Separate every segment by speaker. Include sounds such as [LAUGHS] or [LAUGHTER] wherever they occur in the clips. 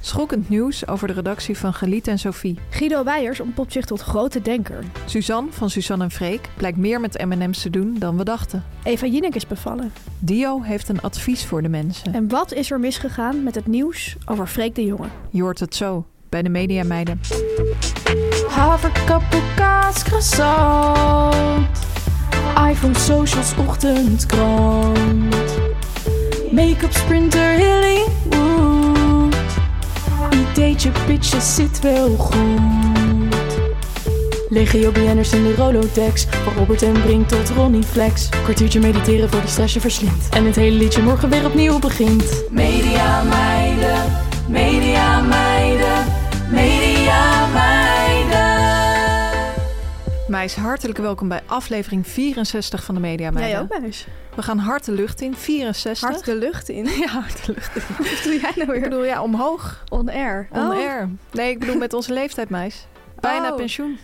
Speaker 1: Schokkend nieuws over de redactie van Geliet en Sophie.
Speaker 2: Guido Weijers ontpopt zich tot grote denker.
Speaker 1: Suzanne van Suzanne en Freek blijkt meer met M&M's te doen dan we dachten.
Speaker 2: Eva Jinek is bevallen.
Speaker 1: Dio heeft een advies voor de mensen.
Speaker 2: En wat is er misgegaan met het nieuws over Freek de Jonge?
Speaker 1: Je hoort het zo bij de Media Meiden.
Speaker 3: Haverkappelkaas, croissant. iPhone, socials, ochtendkrant. Make-up, sprinter, Hollywood. Ideetje, pitches, zit wel goed. Legio BN'ers in de Rolodex. Van Robert en Brink tot Ronnie Flex. Kwartiertje mediteren voor die stress je verslindt. En het hele liedje morgen weer opnieuw begint. Media meiden, media meiden, media meiden.
Speaker 1: Meis, hartelijk welkom bij aflevering 64 van de Media Meiden.
Speaker 2: Jij ook, Meijers?
Speaker 1: We gaan hard de lucht in, 64.
Speaker 2: Hard de lucht in. [LAUGHS]
Speaker 1: Ja, hard de lucht in.
Speaker 2: Wat doe jij
Speaker 1: Ik
Speaker 2: nou weer? Oh.
Speaker 1: bedoel, ja, omhoog.
Speaker 2: On air.
Speaker 1: On air. Nee, ik bedoel met onze leeftijd, meis. Bijna
Speaker 2: Oh.
Speaker 1: pensioen.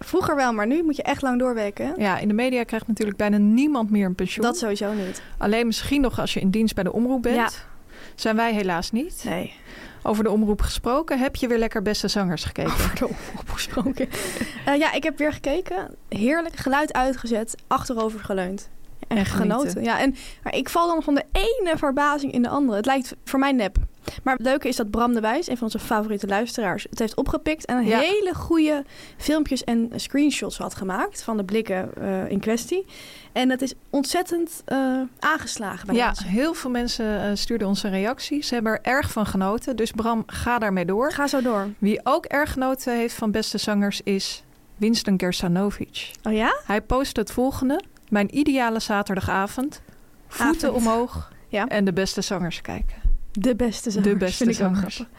Speaker 2: Vroeger wel, maar nu moet je echt lang doorwerken. hè?
Speaker 1: Ja, in de media krijgt natuurlijk bijna niemand meer een pensioen.
Speaker 2: Dat sowieso niet.
Speaker 1: Alleen misschien nog als je in dienst bij de omroep bent.
Speaker 2: Ja.
Speaker 1: Zijn wij helaas niet.
Speaker 2: Nee.
Speaker 1: Over de omroep gesproken, heb je weer lekker beste zangers gekeken?
Speaker 2: Opgesproken. Eh, ja, ik heb weer gekeken. Heerlijk. Geluid uitgezet. Achterover geleund. En,
Speaker 1: En genieten.
Speaker 2: genoten. Ja, en, maar ik val dan van de ene verbazing in de andere. Het lijkt voor mij nep. Maar het leuke is dat Bram de Wijs, een van onze favoriete luisteraars, het heeft opgepikt en
Speaker 1: Ja.
Speaker 2: hele goede filmpjes en screenshots had gemaakt van de blikken eh, in kwestie. En dat is ontzettend eh, aangeslagen bij
Speaker 1: Ja,
Speaker 2: mensen.
Speaker 1: heel veel mensen eh, stuurden ons een reactie. Ze hebben er erg van genoten. Dus Bram, ga daarmee door.
Speaker 2: Ga zo door.
Speaker 1: Wie ook erg genoten heeft van beste zangers is Winston Gersanovic.
Speaker 2: Oh ja?
Speaker 1: Hij post het volgende. Mijn ideale zaterdagavond. Voeten
Speaker 2: Avond.
Speaker 1: omhoog
Speaker 2: Ja.
Speaker 1: en de beste zangers kijken.
Speaker 2: De beste zangers.
Speaker 1: de beste
Speaker 2: vind ik ook
Speaker 1: zangers.
Speaker 2: grappig.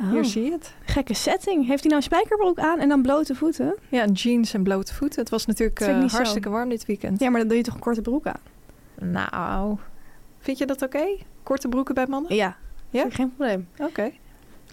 Speaker 2: Oh,
Speaker 1: Hier zie je het.
Speaker 2: Gekke setting. Heeft hij nou een spijkerbroek aan en dan blote voeten?
Speaker 1: Ja, en jeans en blote voeten. Het was natuurlijk
Speaker 2: Vind ik
Speaker 1: eh,
Speaker 2: niet zo.
Speaker 1: hartstikke warm dit weekend.
Speaker 2: Ja, maar dan doe je toch een korte broek aan?
Speaker 1: Nou, vind je dat oké? Korte broeken bij mannen?
Speaker 2: Ja.
Speaker 1: Ja?
Speaker 2: Ja? Geen probleem.
Speaker 1: Oké.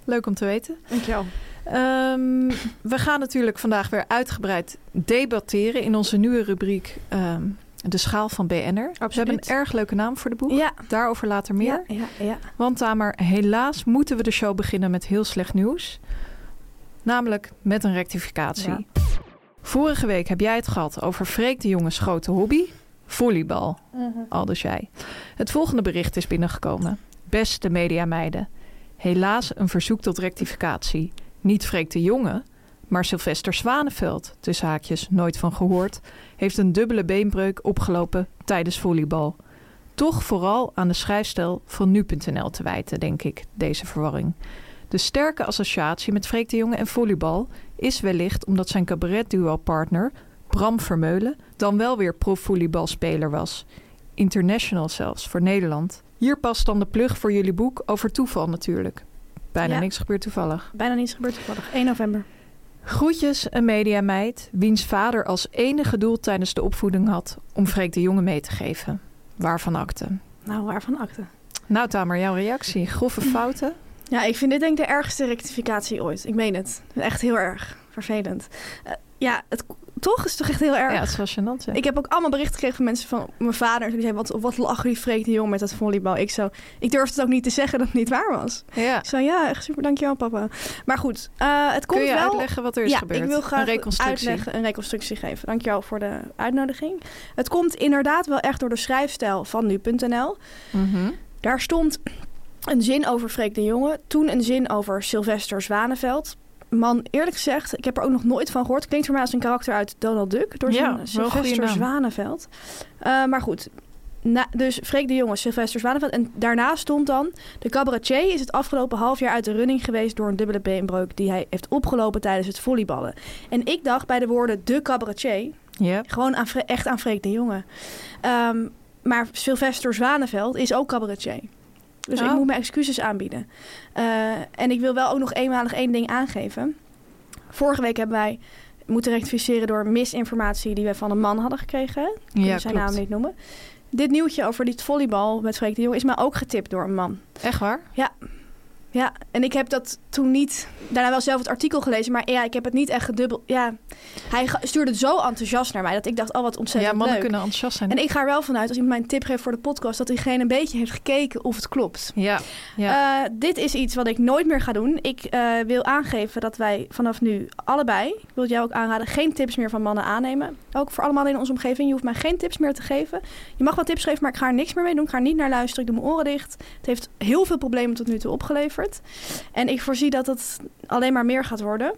Speaker 1: Leuk om te weten.
Speaker 2: Dankjewel.
Speaker 1: Ehm, we gaan natuurlijk vandaag weer uitgebreid debatteren in onze nieuwe rubriek ehm, De Schaal van BN'er.
Speaker 2: Absoluut.
Speaker 1: We hebben een erg leuke naam voor de boeg.
Speaker 2: Ja.
Speaker 1: Daarover later meer.
Speaker 2: Ja, ja, ja.
Speaker 1: Want Tamer, helaas moeten we de show beginnen met heel slecht nieuws. Namelijk met een rectificatie.
Speaker 2: Ja.
Speaker 1: Vorige week heb jij het gehad over Freek de Jonge's grote hobby. Volleybal, al dus jij. Het volgende bericht is binnengekomen. Beste mediameiden. Helaas een verzoek tot rectificatie. Niet Freek de Jonge, maar Sylvester Zwaneveld, tussen haakjes nooit van gehoord, heeft een dubbele beenbreuk opgelopen tijdens volleybal toch vooral aan de schrijfstijl van nu.nl te wijten, denk ik, deze verwarring. De sterke associatie met Freek de Jonge en volleybal is wellicht omdat zijn cabaretduo-partner Bram Vermeulen dan wel weer profvolleybalspeler was. International zelfs, voor Nederland. Hier past dan de plug voor jullie boek over toeval natuurlijk. Bijna
Speaker 2: Ja.
Speaker 1: niks gebeurt toevallig.
Speaker 2: Bijna niets gebeurd toevallig. 1 november.
Speaker 1: Groetjes een mediameid wiens vader als enige doel tijdens de opvoeding had om Freek de Jonge mee te geven. Waarvan akte.
Speaker 2: Nou, waarvan akte?
Speaker 1: Nou Tamer, jouw reactie. Grove fouten.
Speaker 2: Ja, ik vind dit denk ik de ergste rectificatie ooit. Ik meen het. Echt heel erg. Vervelend. Eh, ja, het k- Toch? Dat is toch echt heel erg.
Speaker 1: Ja, het is wel gênant, ja.
Speaker 2: Ik heb ook allemaal berichten gekregen van mensen van mijn vader. Die zeiden, wat, wat lachen die vreemde jongen met dat volleybal. Ik, zo, ik durfde het ook niet te zeggen dat het niet waar was.
Speaker 1: ja.
Speaker 2: Ik zei, ja, echt super, dankjewel papa. Maar goed, eh, het komt
Speaker 1: Kun je
Speaker 2: wel...
Speaker 1: uitleggen wat er is
Speaker 2: ja,
Speaker 1: gebeurd?
Speaker 2: ik wil graag
Speaker 1: een reconstructie.
Speaker 2: uitleggen, een reconstructie geven. Dankjewel voor de uitnodiging. Het komt inderdaad wel echt door de schrijfstijl van nu.nl.
Speaker 1: Mhm.
Speaker 2: Daar stond een zin over Freek de Jonge, toen een zin over Sylvester Zwaneveld. Man, eerlijk gezegd, ik heb er ook nog nooit van gehoord. Klinkt voor mij als een karakter uit Donald Duck, door
Speaker 1: Ja, wel
Speaker 2: zijn
Speaker 1: een goede
Speaker 2: Sylvester
Speaker 1: naam.
Speaker 2: Zwaneveld. Eh, maar goed, na, dus Freek de Jonge, Sylvester Zwaneveld. En daarna stond dan, de cabaretier is het afgelopen half jaar uit de running geweest... door een dubbele beenbreuk die hij heeft opgelopen tijdens het volleyballen. En ik dacht bij de woorden de cabaretier,
Speaker 1: Ja.
Speaker 2: gewoon aan, Fre- echt aan Freek de Jonge. Ehm, maar Sylvester Zwaneveld is ook cabaretier. Dus
Speaker 1: Oh.
Speaker 2: ik moet mijn excuses aanbieden. Eh, en ik wil wel ook nog eenmalig één ding aangeven. Vorige week hebben wij moeten rectificeren door misinformatie die wij van een man hadden gekregen. hè? Ik
Speaker 1: Ja,
Speaker 2: wil zijn naam
Speaker 1: klopt.
Speaker 2: niet noemen. Dit nieuwtje over dit volleybal met Freek de Jonge is mij ook getipt door een man.
Speaker 1: Echt waar?
Speaker 2: Ja, en ik heb dat toen niet... Daarna wel zelf het artikel gelezen, maar ja, ik heb het niet echt gedubbel... Ja, hij ge- stuurde het zo enthousiast naar mij dat ik dacht, oh wat ontzettend
Speaker 1: ja, mannen
Speaker 2: leuk.
Speaker 1: kunnen enthousiast zijn.
Speaker 2: En ik ga er wel vanuit, als iemand mij een tip geeft voor de podcast, dat diegene een beetje heeft gekeken of het klopt.
Speaker 1: Ja, ja.
Speaker 2: Eh, dit is iets wat ik nooit meer ga doen. Ik eh, wil aangeven dat wij vanaf nu allebei, ik wil het jou ook aanraden, geen tips meer van mannen aannemen. Ook voor allemaal in onze omgeving. Je hoeft mij geen tips meer te geven. Je mag wel tips geven, maar ik ga er niks meer mee doen. Ik ga er niet naar luisteren. Ik doe mijn oren dicht. Het heeft heel veel problemen tot nu toe opgeleverd. En ik voorzie dat het alleen maar meer gaat worden.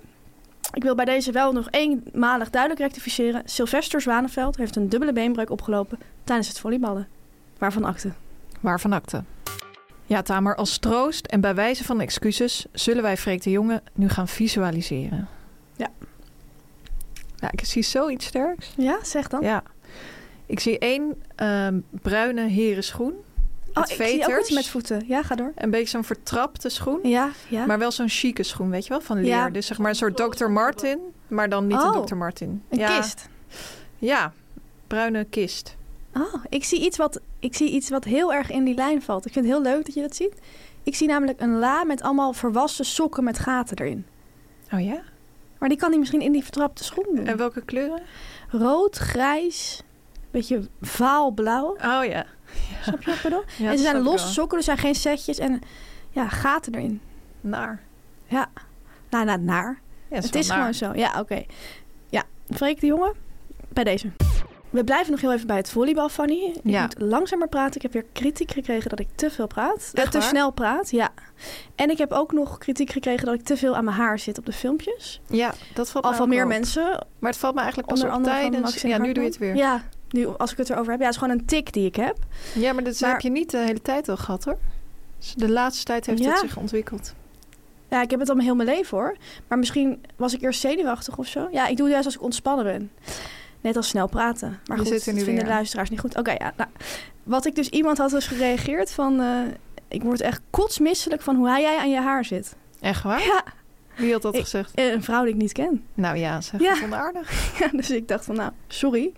Speaker 2: Ik wil bij deze wel nog eenmalig duidelijk rectificeren. Sylvester Zwaneveld heeft een dubbele beenbreuk opgelopen tijdens het volleyballen. Waarvan akte.
Speaker 1: Waarvan akte? Ja, Tamer, als troost en bij wijze van excuses zullen wij Freek de Jonge nu gaan visualiseren.
Speaker 2: Ja.
Speaker 1: Ja, ik zie zoiets sterks.
Speaker 2: Ja, zeg dan.
Speaker 1: Ja. Ik zie één ehm, bruine herenschoen.
Speaker 2: oh,
Speaker 1: met
Speaker 2: ik zie ook
Speaker 1: veters.
Speaker 2: iets met voeten. Ja, ga door.
Speaker 1: Een beetje zo'n vertrapte schoen.
Speaker 2: Ja, ja.
Speaker 1: Maar wel zo'n chique schoen, weet je wel, van leer.
Speaker 2: Ja.
Speaker 1: Dus zeg maar een soort Dr. Martin, maar dan niet
Speaker 2: Oh,
Speaker 1: een Dr. Martin.
Speaker 2: een
Speaker 1: ja.
Speaker 2: kist.
Speaker 1: Ja, bruine kist.
Speaker 2: Oh, ik zie, iets wat, ik zie iets wat heel erg in die lijn valt. Ik vind het heel leuk dat je dat ziet. Ik zie namelijk een la met allemaal verwassen sokken met gaten erin.
Speaker 1: Oh ja?
Speaker 2: Maar die kan hij misschien in die vertrapte schoen doen.
Speaker 1: En welke kleuren?
Speaker 2: Rood, grijs, beetje vaalblauw.
Speaker 1: Oh ja.
Speaker 2: Snap je wat ik bedoel?
Speaker 1: ja
Speaker 2: en
Speaker 1: dat snap
Speaker 2: ze zijn
Speaker 1: ik
Speaker 2: losse
Speaker 1: wel.
Speaker 2: sokken, dus er zijn geen setjes en ja, gaten erin.
Speaker 1: Naar.
Speaker 2: Nou, nou, naar.
Speaker 1: Ja,
Speaker 2: het is
Speaker 1: wel
Speaker 2: gewoon
Speaker 1: naar.
Speaker 2: zo. Ja, oké. Ja, Freek de jongen, bij deze. We blijven nog heel even bij het volleybal, Fanny. Ik
Speaker 1: Ja.
Speaker 2: moet langzamer praten. Ik heb weer kritiek gekregen dat ik te veel praat. Dat
Speaker 1: Echt
Speaker 2: te
Speaker 1: waar?
Speaker 2: snel praat, ja. En ik heb ook nog kritiek gekregen dat ik te veel aan mijn haar zit op de filmpjes.
Speaker 1: Ja, dat valt
Speaker 2: Al
Speaker 1: mij
Speaker 2: van
Speaker 1: ook
Speaker 2: meer
Speaker 1: op.
Speaker 2: mensen.
Speaker 1: Maar het valt me eigenlijk pas
Speaker 2: Onder
Speaker 1: op
Speaker 2: andere van
Speaker 1: tijdens...
Speaker 2: Maxine
Speaker 1: Ja, nu doe je het weer.
Speaker 2: Hartman.
Speaker 1: Ja,
Speaker 2: Ja, nu als ik het erover heb. Ja, het is gewoon een tik die ik heb.
Speaker 1: maar dat
Speaker 2: Maar-
Speaker 1: heb je niet de hele tijd al gehad, hoor. Dus de laatste tijd heeft
Speaker 2: Ja.
Speaker 1: het zich ontwikkeld.
Speaker 2: Ja, ik heb het al mijn heel mijn leven hoor. Maar misschien was ik eerst zenuwachtig of zo. Ja, ik doe het juist als ik ontspannen ben. Net als snel praten. Maar
Speaker 1: Je
Speaker 2: goed,
Speaker 1: zit er nu
Speaker 2: dat vinden
Speaker 1: weer.
Speaker 2: de luisteraars niet goed. Oké, ja. Nou, wat ik dus... Iemand had dus gereageerd van... eh, ik word echt kotsmisselijk van hoe hij jij aan je haar zit.
Speaker 1: Echt waar?
Speaker 2: Ja,
Speaker 1: Wie had dat
Speaker 2: Ik-
Speaker 1: gezegd?
Speaker 2: eh, een vrouw die ik niet ken. [LAUGHS]
Speaker 1: Nou ja, zeg,
Speaker 2: Ja.
Speaker 1: ja. onaardig.
Speaker 2: Ja, dus ik dacht van, nou, sorry.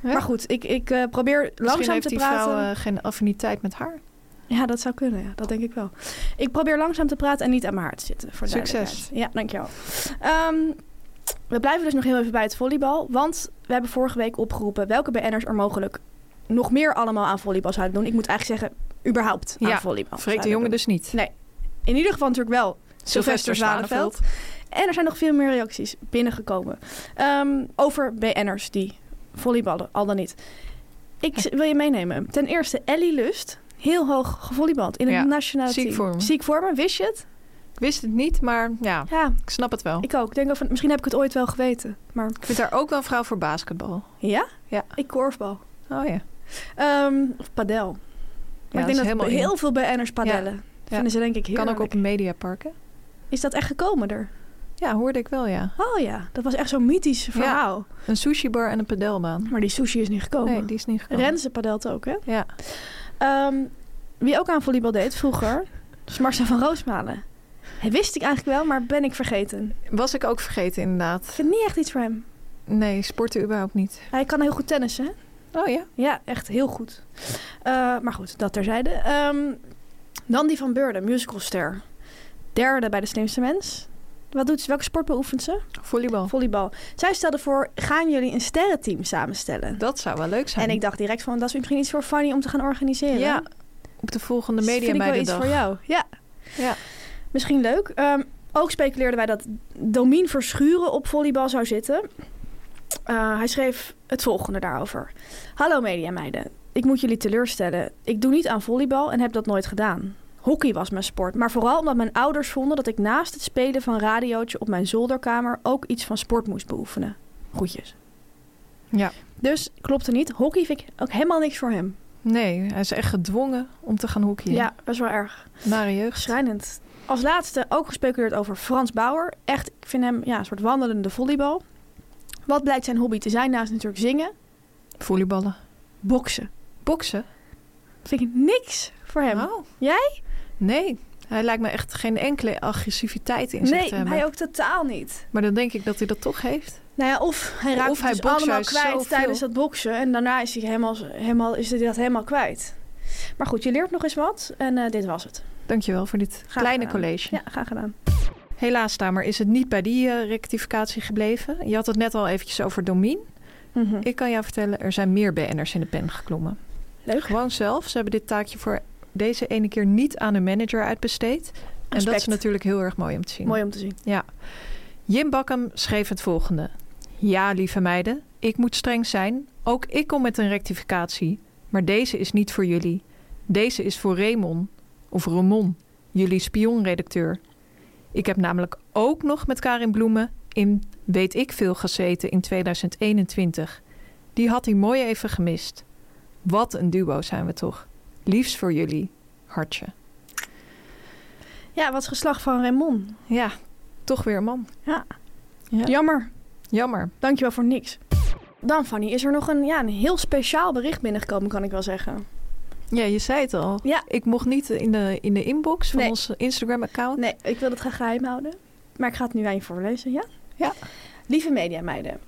Speaker 1: Hè?
Speaker 2: Maar goed, ik, ik eh, probeer
Speaker 1: Misschien
Speaker 2: langzaam
Speaker 1: heeft
Speaker 2: te
Speaker 1: die
Speaker 2: praten.
Speaker 1: vrouw eh, geen affiniteit met haar.
Speaker 2: Ja, dat zou kunnen. Ja. Dat denk ik wel. Ik probeer langzaam te praten en niet aan mijn hart te zitten. Voor de
Speaker 1: Succes.
Speaker 2: duidelijkheid. Ja, dankjewel. Ehm we blijven dus nog heel even bij het volleybal. Want we hebben vorige week opgeroepen welke BN'ers er mogelijk nog meer allemaal aan volleybal zouden doen. Ik moet eigenlijk zeggen, überhaupt aan
Speaker 1: Ja,
Speaker 2: volleybal.
Speaker 1: Freek de
Speaker 2: zouden
Speaker 1: Jonge
Speaker 2: doen.
Speaker 1: dus niet.
Speaker 2: In ieder geval natuurlijk wel. Sylvester Zwaneveld. En er zijn nog veel meer reacties binnengekomen. Ehm, over BN'ers die volleyballen, al dan niet. Ik z- wil je meenemen. Ten eerste Ellie Lust. Heel hoog gevolleybald in het
Speaker 1: Ja,
Speaker 2: nationale
Speaker 1: ziek
Speaker 2: team.
Speaker 1: voor me.
Speaker 2: Ziek voor me, wist je het?
Speaker 1: Ik wist het niet, maar ja,
Speaker 2: Ja,
Speaker 1: ik snap het wel. Ik,
Speaker 2: ik ook. Ik Denk ook van, misschien heb ik het ooit wel geweten. Maar
Speaker 1: vind haar ook wel een vrouw voor basketbal.
Speaker 2: ja?
Speaker 1: Ja.
Speaker 2: Ik korfbal.
Speaker 1: Oh ja.
Speaker 2: Ehm, of padel. Maar
Speaker 1: dat
Speaker 2: ik
Speaker 1: is
Speaker 2: denk dat
Speaker 1: helemaal
Speaker 2: heel veel BN'ers padellen. Vinden ze denk ik
Speaker 1: Kan
Speaker 2: heerlijk.
Speaker 1: ook op een mediapark, hè?
Speaker 2: Is dat echt gekomen er?
Speaker 1: Ja, hoorde ik wel, ja.
Speaker 2: Oh ja, dat was echt zo'n mythisch verhaal.
Speaker 1: Een sushibar en een padelbaan.
Speaker 2: Maar die sushi is niet gekomen.
Speaker 1: Nee, die is niet gekomen.
Speaker 2: Renze padelt ook, hè?
Speaker 1: Ja.
Speaker 2: Ehm, wie ook aan volleybal deed vroeger, was Marcel van Roosmalen. Hij wist ik eigenlijk wel, maar ben ik vergeten.
Speaker 1: Was ik ook vergeten, inderdaad.
Speaker 2: Ik vind niet echt iets voor hem.
Speaker 1: Nee, sporten überhaupt niet.
Speaker 2: Hij kan heel goed tennissen, hè?
Speaker 1: Oh ja?
Speaker 2: Ja, echt heel goed. Eh, maar goed, dat terzijde. Ehm dan die van Beurden, musicalster. Derde bij de slimste mens. Wat doet ze? Welke sport beoefent ze?
Speaker 1: Oh. Volleybal.
Speaker 2: Volleybal. Zij stelde voor, gaan jullie een sterrenteam samenstellen?
Speaker 1: Dat zou wel leuk zijn.
Speaker 2: En ik dacht direct van, dat is misschien iets voor Fanny om te gaan organiseren.
Speaker 1: Ja, op de volgende
Speaker 2: Dus
Speaker 1: media
Speaker 2: vind ik wel
Speaker 1: bij
Speaker 2: iets voor jou. Ja.
Speaker 1: Ja.
Speaker 2: Misschien leuk. Ehm, ook speculeerden wij dat Domien Verschuren op volleybal zou zitten. Eh, hij schreef het volgende daarover. Hallo mediameiden. Ik moet jullie teleurstellen. Ik doe niet aan volleybal en heb dat nooit gedaan. Hockey was mijn sport, maar vooral omdat mijn ouders vonden dat ik naast het spelen van radiootje op mijn zolderkamer ook iets van sport moest beoefenen. Groetjes.
Speaker 1: Ja.
Speaker 2: Dus klopte niet. Hockey vind ik ook helemaal niks voor hem.
Speaker 1: Nee, hij is echt gedwongen om te gaan hockeyen.
Speaker 2: Ja, best wel erg.
Speaker 1: Nare jeugd.
Speaker 2: Schrijnend. Als laatste ook gespeculeerd over Frans Bauer. Echt, ik vind hem ja, een soort wandelende volleybal. Wat blijkt zijn hobby te zijn naast natuurlijk zingen?
Speaker 1: Volleyballen.
Speaker 2: Boksen.
Speaker 1: Boksen?
Speaker 2: Vind ik niks voor hem.
Speaker 1: Oh.
Speaker 2: Jij?
Speaker 1: Nee, hij lijkt me echt geen enkele agressiviteit in zich
Speaker 2: nee,
Speaker 1: te hebben.
Speaker 2: hij ook totaal niet.
Speaker 1: Maar dan denk ik dat hij dat toch heeft.
Speaker 2: Nou ja, of hij raakt
Speaker 1: Of
Speaker 2: het
Speaker 1: hij
Speaker 2: dus
Speaker 1: bokst
Speaker 2: allemaal
Speaker 1: juist
Speaker 2: kwijt
Speaker 1: zoveel.
Speaker 2: tijdens dat boksen. En daarna is hij, helemaal, helemaal, is hij dat helemaal kwijt. Maar goed, je leert nog eens wat. En eh, dit was het.
Speaker 1: Dankjewel voor dit kleine
Speaker 2: gedaan.
Speaker 1: college.
Speaker 2: Ja, graag gedaan.
Speaker 1: Helaas, Tamer, is het niet bij die eh, rectificatie gebleven. Je had het net al eventjes over Domien.
Speaker 2: Mhm.
Speaker 1: Ik kan jou vertellen, er zijn meer BN'ers in de pen geklommen.
Speaker 2: Leuk.
Speaker 1: Gewoon zelf. Ze hebben dit taakje voor deze ene keer niet aan hun manager uitbesteed. En dat
Speaker 2: Respect.
Speaker 1: is natuurlijk heel erg mooi om te zien.
Speaker 2: Mooi om te zien.
Speaker 1: Ja. Jim Bakken schreef het volgende. Ja, lieve meiden, ik moet streng zijn. Ook ik kom met een rectificatie. Maar deze is niet voor jullie. Deze is voor Raymond. Of Ramon, jullie spionredacteur. Ik heb namelijk ook nog met Karin Bloemen in Weet ik veel gezeten in 2021. Die had hij mooi even gemist. Wat een duo zijn we toch. Liefst voor jullie. Hartje.
Speaker 2: Ja, wat is geslacht van Raymond.
Speaker 1: Ja, toch weer een man. Ja.
Speaker 2: Jammer.
Speaker 1: Jammer.
Speaker 2: Dankjewel voor niks. Dan, Fanny, is er nog een, ja, een heel speciaal bericht binnengekomen, kan ik wel zeggen.
Speaker 1: Ja, je zei het al.
Speaker 2: Ja.
Speaker 1: Ik mocht niet in de, in de inbox van
Speaker 2: Nee.
Speaker 1: ons Instagram-account.
Speaker 2: Nee, ik wil het graag geheim houden. Maar ik ga het nu aan je voorlezen, ja?
Speaker 1: Ja.
Speaker 2: Lieve mediameiden.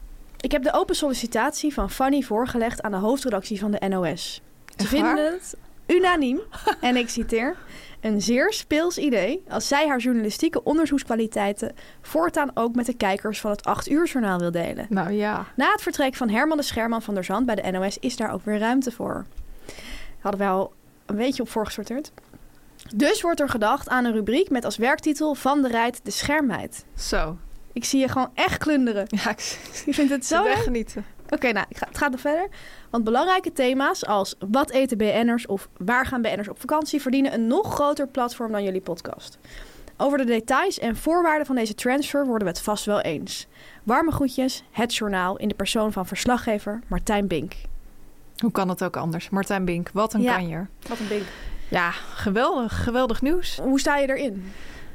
Speaker 2: Ik heb de open sollicitatie van Fanny voorgelegd aan de hoofdredactie van de NOS. Ze
Speaker 1: Echt waar?
Speaker 2: vinden het unaniem, en ik citeer... een zeer speels idee als zij haar journalistieke onderzoekskwaliteiten... voortaan ook met de kijkers van het 8 uur journaal wil delen.
Speaker 1: Nou ja.
Speaker 2: Na het vertrek van Herman de Scherman van der Zand bij de NOS is daar ook weer ruimte voor. Hadden we al een beetje op voorgesorteerd. Dus wordt er gedacht aan een rubriek met als werktitel Van de Rijt de Schermheid.
Speaker 1: Zo.
Speaker 2: Ik zie je gewoon echt klunderen.
Speaker 1: Ja, ik zit
Speaker 2: Je vindt het zo leuk?
Speaker 1: echt genieten.
Speaker 2: Oké, nou, ik ga- het gaat nog verder. Want belangrijke thema's als wat eten BN'ers of waar gaan BN'ers op vakantie verdienen een nog groter platform dan jullie podcast. Over de details en voorwaarden van deze transfer worden we het vast wel eens. Warme groetjes, het journaal in de persoon van verslaggever Martijn Bink.
Speaker 1: Hoe kan het ook anders? Martijn Bink, wat een
Speaker 2: Ja.
Speaker 1: kanjer.
Speaker 2: Wat een Bink.
Speaker 1: Ja, geweldig. Geweldig nieuws.
Speaker 2: Hoe sta je erin?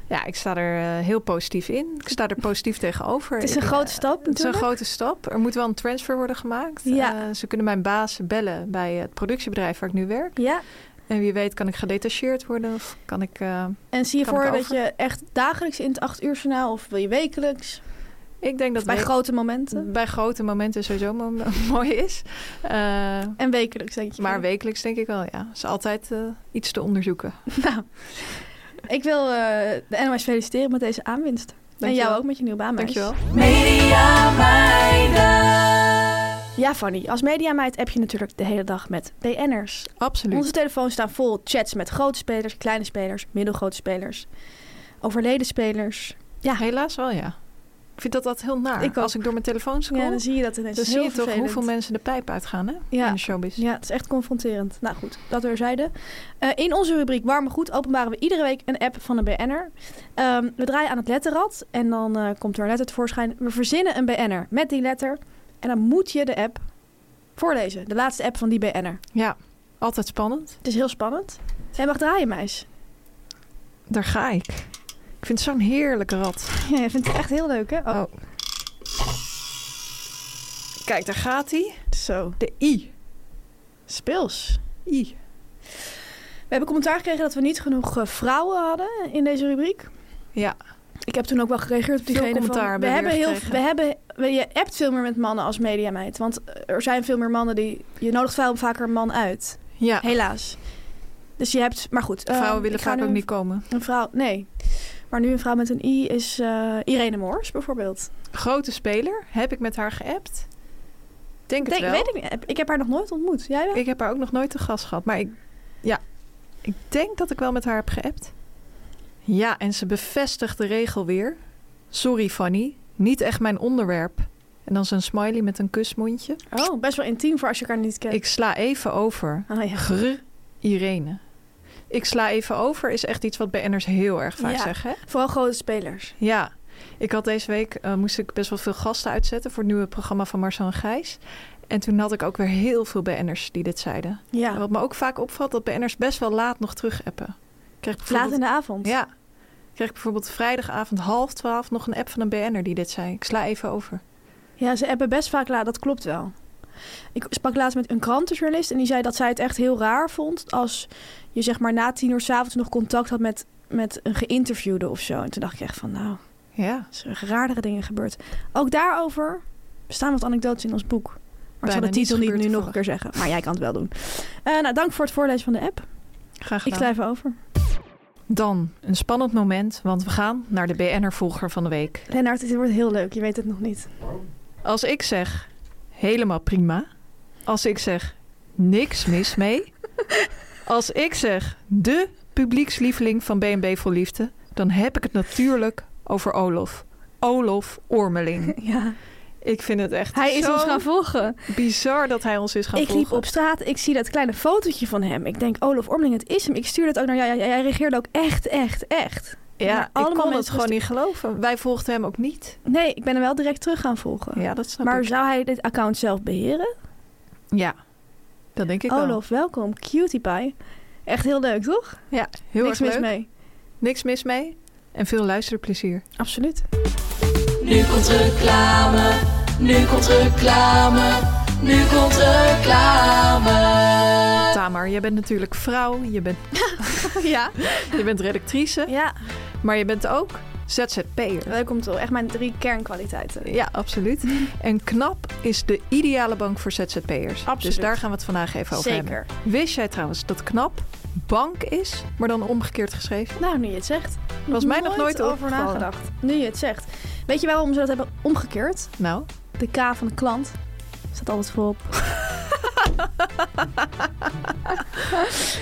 Speaker 1: Ja, ik sta er eh, heel positief in. Ik sta er positief [LAUGHS] tegenover.
Speaker 2: Het is een
Speaker 1: Ik,
Speaker 2: grote
Speaker 1: eh,
Speaker 2: stap
Speaker 1: Het is een
Speaker 2: natuurlijk.
Speaker 1: grote stap. Er moet wel een transfer worden gemaakt.
Speaker 2: Ja.
Speaker 1: Eh, ze kunnen mijn baas bellen bij het productiebedrijf waar ik nu werk.
Speaker 2: Ja,
Speaker 1: En wie weet kan ik gedetacheerd worden of kan ik... eh,
Speaker 2: en zie je
Speaker 1: Kan
Speaker 2: voor
Speaker 1: ik
Speaker 2: dat
Speaker 1: over?
Speaker 2: je echt dagelijks in het 8 uur journaal of wil je wekelijks?
Speaker 1: ik denk dat
Speaker 2: bij
Speaker 1: we-
Speaker 2: grote momenten.
Speaker 1: bij grote momenten sowieso mo- [LAUGHS] mooi is. Eh,
Speaker 2: En wekelijks denk je.
Speaker 1: Maar wekelijks denk ik wel, ja. Is altijd eh, iets te onderzoeken.
Speaker 2: Nou, ik wil eh, de NOS feliciteren met deze aanwinst. en
Speaker 1: Dankjewel.
Speaker 2: jou ook met je nieuwe baan, meis.
Speaker 1: Dankjewel.
Speaker 3: Media meiden.
Speaker 2: Ja, Fanny, als mediameid app je natuurlijk de hele dag met BN'ers.
Speaker 1: Absoluut.
Speaker 2: Onze telefoons staan vol chats met grote spelers, kleine spelers, middelgrote spelers, overleden spelers.
Speaker 1: Ja, helaas wel, ja. Ik vind dat altijd heel naar.
Speaker 2: Ik ook.
Speaker 1: Als ik door mijn telefoon scroll,
Speaker 2: Ja, dan
Speaker 1: dan,
Speaker 2: zie je dat ineens. Dat is
Speaker 1: zie
Speaker 2: heel
Speaker 1: je toch
Speaker 2: vervelend.
Speaker 1: hoeveel mensen de pijp uitgaan, hè?
Speaker 2: Ja.
Speaker 1: In de showbiz.
Speaker 2: Ja, het is echt confronterend. Nou goed, dat weerzijde. Eh in onze rubriek Warme Goed openbaren we iedere week een app van een BN'er. Ehm, we draaien aan het letterrad en dan eh, komt er een letter tevoorschijn. We verzinnen een BN'er met die letter. En dan moet je de app voorlezen. De laatste app van die BN'er.
Speaker 1: Ja, altijd spannend.
Speaker 2: Het is heel spannend. Jij mag draaien, meis. [LAUGHS]
Speaker 1: Daar ga ik. Ik vind het zo'n heerlijke rat.
Speaker 2: Ja, je vindt het echt heel leuk, hè? Oh,
Speaker 1: Kijk, daar gaat hij.
Speaker 2: zo.
Speaker 1: De I.
Speaker 2: Speels.
Speaker 1: I.
Speaker 2: We hebben commentaar gekregen dat we niet genoeg eh, vrouwen hadden in deze rubriek.
Speaker 1: Ja.
Speaker 2: Ik heb toen ook wel gereageerd op
Speaker 1: Veel
Speaker 2: diegene
Speaker 1: commentaar
Speaker 2: van... We
Speaker 1: hebben we
Speaker 2: hebben,
Speaker 1: weer
Speaker 2: heel, we
Speaker 1: gekregen.
Speaker 2: hebben we, Je appt veel meer met mannen als mediameid. Want er zijn veel meer mannen die... Je nodigt vrouwen vaker een man uit.
Speaker 1: Ja,
Speaker 2: Helaas. Dus je hebt... Maar goed. eh,
Speaker 1: vrouwen willen
Speaker 2: ik ga
Speaker 1: vaak
Speaker 2: nu
Speaker 1: ook niet komen.
Speaker 2: Een vrouw... Nee. Maar nu een vrouw met een i is eh, Irene Moors bijvoorbeeld.
Speaker 1: Grote speler. Heb ik met haar geappt? Denk het wel.
Speaker 2: Denk, weet ik niet. Heb- Ik heb haar nog nooit ontmoet. Jij wel?
Speaker 1: Ik heb haar ook nog nooit te gast gehad. Maar ik, ja, ik denk dat ik wel met haar heb geappt. Ja, en ze bevestigt de regel weer. Sorry Fanny, niet echt mijn onderwerp. En dan zo'n smiley met een kusmondje.
Speaker 2: Oh, best wel intiem voor als je elkaar niet kent.
Speaker 1: Ik sla even over.
Speaker 2: Ah, ja.
Speaker 1: Gr, Irene. Ik sla even over is echt iets wat BN'ers heel erg vaak
Speaker 2: Ja.
Speaker 1: zeggen. hè?
Speaker 2: Vooral grote spelers.
Speaker 1: Ja, ik had deze week eh, moest ik best wel veel gasten uitzetten voor het nieuwe programma van Marcel en Gijs. En toen had ik ook weer heel veel BN'ers die dit zeiden.
Speaker 2: Ja.
Speaker 1: Ah, Wat me ook vaak opvalt, dat BN'ers best wel laat nog terugappen. Kreeg ik
Speaker 2: Laat in
Speaker 1: bijvoorbeeld,
Speaker 2: de avond.
Speaker 1: ja, kreeg ik bijvoorbeeld vrijdagavond half twaalf nog een app van een BN'er die dit zei. Ik sla even over.
Speaker 2: Ja, ze hebben best vaak laat, dat klopt wel. Ik sprak laatst met een krantenjournalist en die zei dat zij het echt heel raar vond als je zeg maar na tien uur s'avonds nog contact had met, met een geïnterviewde of zo. En toen dacht ik echt van nou,
Speaker 1: Ja,
Speaker 2: er zijn raardere dingen gebeurd. Ook daarover staan wat anekdotes in ons boek. Maar ik zal
Speaker 1: Bijna
Speaker 2: de titel
Speaker 1: niets
Speaker 2: niet nu
Speaker 1: gebeurt
Speaker 2: nog een keer zeggen, maar jij kan het wel doen. Eh, nou, dank voor het voorlezen van de app.
Speaker 1: graag
Speaker 2: Ik
Speaker 1: gedaan.
Speaker 2: sla even over.
Speaker 1: Dan een spannend moment, want we gaan naar de BN'er-volger van de week.
Speaker 2: Lennart, dit wordt heel leuk, je weet het nog niet.
Speaker 1: Als ik zeg helemaal prima. Als ik zeg niks mis [LAUGHS] mee. Als ik zeg de publiekslieveling van BNB voor Liefde. Dan heb ik het natuurlijk over Olof. Olof Ormeling.
Speaker 2: Ja.
Speaker 1: [LAUGHS] Ik vind het echt
Speaker 2: Hij is
Speaker 1: zo
Speaker 2: ons gaan volgen.
Speaker 1: bizar dat hij ons is gaan
Speaker 2: ik liep
Speaker 1: volgen.
Speaker 2: op straat, ik zie dat kleine fotootje van hem. Ik denk, Olaf Ormeling, het is hem. Ik stuur dat ook naar jou. Jij, jij reageerde ook echt, echt, echt. naar
Speaker 1: ja,
Speaker 2: alle
Speaker 1: ik kon het
Speaker 2: mensen dus
Speaker 1: gewoon niet geloven. Wij volgden hem ook niet.
Speaker 2: Nee, ik ben hem wel direct terug gaan volgen.
Speaker 1: Ja, dat snap
Speaker 2: maar
Speaker 1: ik.
Speaker 2: zou hij dit account zelf beheren?
Speaker 1: Ja, dat denk ik wel.
Speaker 2: Olaf, welkom. Cutie pie. Echt heel leuk, toch?
Speaker 1: Ja, heel
Speaker 2: Niks
Speaker 1: erg
Speaker 2: mis
Speaker 1: leuk.
Speaker 2: mee.
Speaker 1: Niks mis mee. En veel luisterplezier.
Speaker 2: Absoluut.
Speaker 3: Nu komt reclame, nu komt reclame, nu komt reclame.
Speaker 1: Tamar, jij bent natuurlijk vrouw, je bent,
Speaker 2: ja.
Speaker 1: je bent redactrice,
Speaker 2: ja,
Speaker 1: maar je bent ook ZZP'er.
Speaker 2: leuk om te Echt mijn drie kernkwaliteiten.
Speaker 1: Ja, absoluut. En KNAP is de ideale bank voor ZZP'ers. Dus
Speaker 2: Absoluut.
Speaker 1: daar gaan we het vandaag even over
Speaker 2: Zeker.
Speaker 1: hebben. Wist jij trouwens dat KNAP bank is, maar dan omgekeerd geschreven?
Speaker 2: Nou, nu je het zegt.
Speaker 1: Was mij nog nooit
Speaker 2: over
Speaker 1: opgevallen.
Speaker 2: nagedacht. Nu je het zegt. Weet je waarom ze dat hebben omgekeerd?
Speaker 1: Nou,
Speaker 2: De K van de klant staat altijd voorop.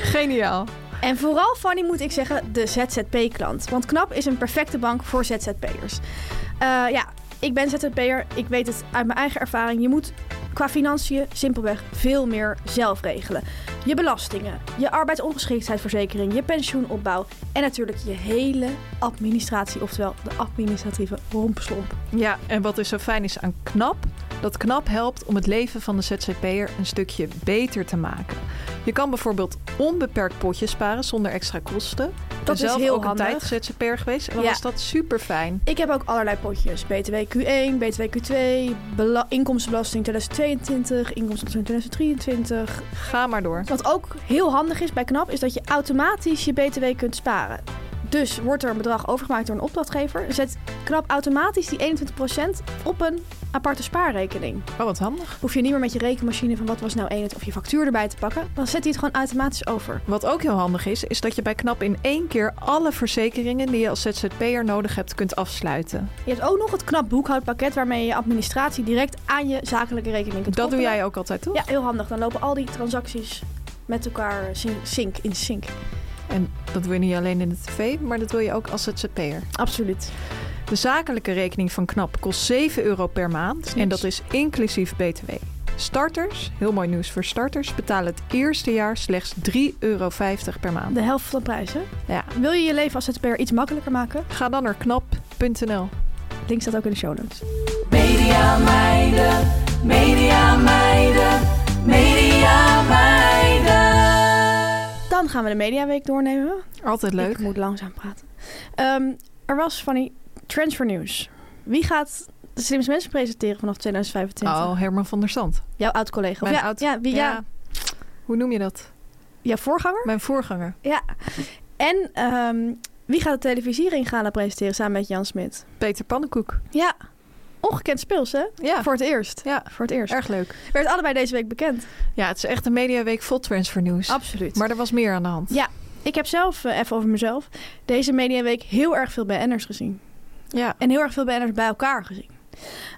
Speaker 1: geniaal.
Speaker 2: En vooral, Fanny, moet ik zeggen, de ZZP-klant. Want KNAP is een perfecte bank voor ZZP'ers. Eh, ja, ik ben ZZP'er. Ik weet het uit mijn eigen ervaring. Je moet qua financiën simpelweg veel meer zelf regelen. Je belastingen, je arbeidsongeschiktheidsverzekering, je pensioenopbouw... en natuurlijk je hele administratie, oftewel de administratieve rompeslomp.
Speaker 1: Ja, en wat dus zo fijn is aan KNAP, dat KNAP helpt om het leven van de ZZP'er een stukje beter te maken. Je kan bijvoorbeeld onbeperkt potjes sparen zonder extra kosten. Ik ben
Speaker 2: is
Speaker 1: zelf
Speaker 2: heel
Speaker 1: ook
Speaker 2: handig.
Speaker 1: een tijd ZZP'er geweest en dan
Speaker 2: Ja.
Speaker 1: was dat super fijn.
Speaker 2: Ik heb ook allerlei potjes. BTW Q1, BTW Q2, bela- inkomstenbelasting 2022, inkomstenbelasting 2023...
Speaker 1: Ga maar door.
Speaker 2: Wat ook heel handig is bij KNAP, is dat je automatisch je BTW kunt sparen. Dus wordt er een bedrag overgemaakt door een opdrachtgever, zet KNAP automatisch die 21% op een aparte spaarrekening.
Speaker 1: Oh, wat handig.
Speaker 2: Hoef je niet meer met je rekenmachine van wat was nou 21 of je factuur erbij te pakken, dan zet hij het gewoon automatisch over.
Speaker 1: Wat ook heel handig is, is dat je bij KNAP in één keer alle verzekeringen die je als ZZP'er nodig hebt kunt afsluiten.
Speaker 2: Je hebt ook nog het KNAP boekhoudpakket waarmee je je administratie direct aan je zakelijke rekening kunt
Speaker 1: Dat doe
Speaker 2: koppelen.
Speaker 1: jij ook altijd, toch?
Speaker 2: Ja, heel handig. Dan lopen al die transacties met elkaar eh, syn- sync in sync.
Speaker 1: En dat wil je niet alleen in de tv, maar dat wil je ook als ZZP'er.
Speaker 2: Absoluut.
Speaker 1: De zakelijke rekening van KNAP kost 7 euro per maand en dat is inclusief BTW. Starters, heel mooi nieuws voor starters, betalen het eerste jaar slechts 3,50 euro per maand.
Speaker 2: De helft van de prijs, hè?
Speaker 1: Ja.
Speaker 2: Wil je je leven als ZZP'er iets makkelijker maken?
Speaker 1: Ga dan naar knap.nl.
Speaker 2: Link staat ook in de show notes.
Speaker 3: Media meiden, media meiden, media meiden.
Speaker 2: Dan gaan we de Mediaweek doornemen.
Speaker 1: Altijd leuk.
Speaker 2: Ik moet langzaam praten. Ehm, er was van die transfer nieuws. Wie gaat de slimste mensen presenteren vanaf 2025?
Speaker 1: Oh, Herman van der Zand.
Speaker 2: Jouw oud-collega. Of
Speaker 1: Mijn
Speaker 2: ja,
Speaker 1: oud-
Speaker 2: ja, wie, ja,
Speaker 1: Hoe noem je dat?
Speaker 2: jouw voorganger.
Speaker 1: Mijn voorganger.
Speaker 2: Ja. En ehm, wie gaat de televisiering gaan presenteren samen met Jan Smit?
Speaker 1: Peter Pannenkoek.
Speaker 2: Ja, ongekend speels hè?
Speaker 1: Ja,
Speaker 2: Voor het eerst.
Speaker 1: Ja.
Speaker 2: Voor het eerst.
Speaker 1: erg leuk.
Speaker 2: Werd allebei deze week bekend.
Speaker 1: Ja, het is echt een mediaweek vol transfernieuws.
Speaker 2: Absoluut.
Speaker 1: Maar er was meer aan de hand.
Speaker 2: Ja, Ik heb zelf, eh, even over mezelf, deze mediaweek heel erg veel BN'ers gezien.
Speaker 1: Ja.
Speaker 2: En heel erg veel BN'ers bij elkaar gezien.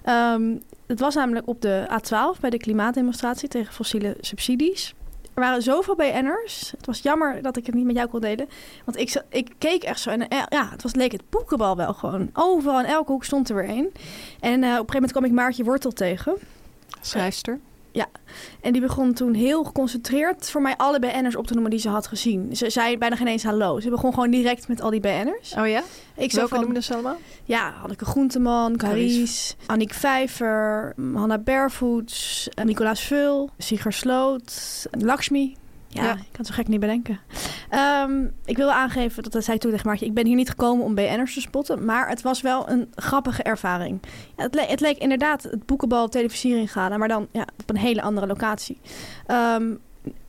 Speaker 2: Ehm, het was namelijk op de A12 bij de klimaatdemonstratie tegen fossiele subsidies. Er waren zoveel BN'ers. Het was jammer dat ik het niet met jou kon delen. Want ik, za- ik keek echt zo en eh, ja, het was, leek het boekenbal wel gewoon. Overal in elke hoek stond er weer één. En eh, op een gegeven moment kwam ik Maartje Wortel tegen.
Speaker 1: Schrijfster.
Speaker 2: En die begon toen heel geconcentreerd voor mij alle BN'ers op te noemen die ze had gezien. Ze zei bijna geen eens hallo. Ze begon gewoon direct met al die BN'ers.
Speaker 1: Oh ja?
Speaker 2: Ik
Speaker 1: Zo
Speaker 2: zag
Speaker 1: Welke
Speaker 2: van,
Speaker 1: noemden ze allemaal?
Speaker 2: ja, Hanneke Groenteman, Carice, Annick Vijver, Hanna Barefoots, eh, Nicolaas Vul, Sigrid Sloot, Lakshmi. Ja,
Speaker 1: Ja.
Speaker 2: ik kan het zo gek niet bedenken. Ehm, ik wil aangeven, dat, dat zei ik toen tegen Maartje, ik ben hier niet gekomen om BN'ers te spotten, maar het was wel een grappige ervaring. Ja, het, le- het leek inderdaad het boekenbal televisiering gaan, maar dan ja, op een hele andere locatie. Ehm,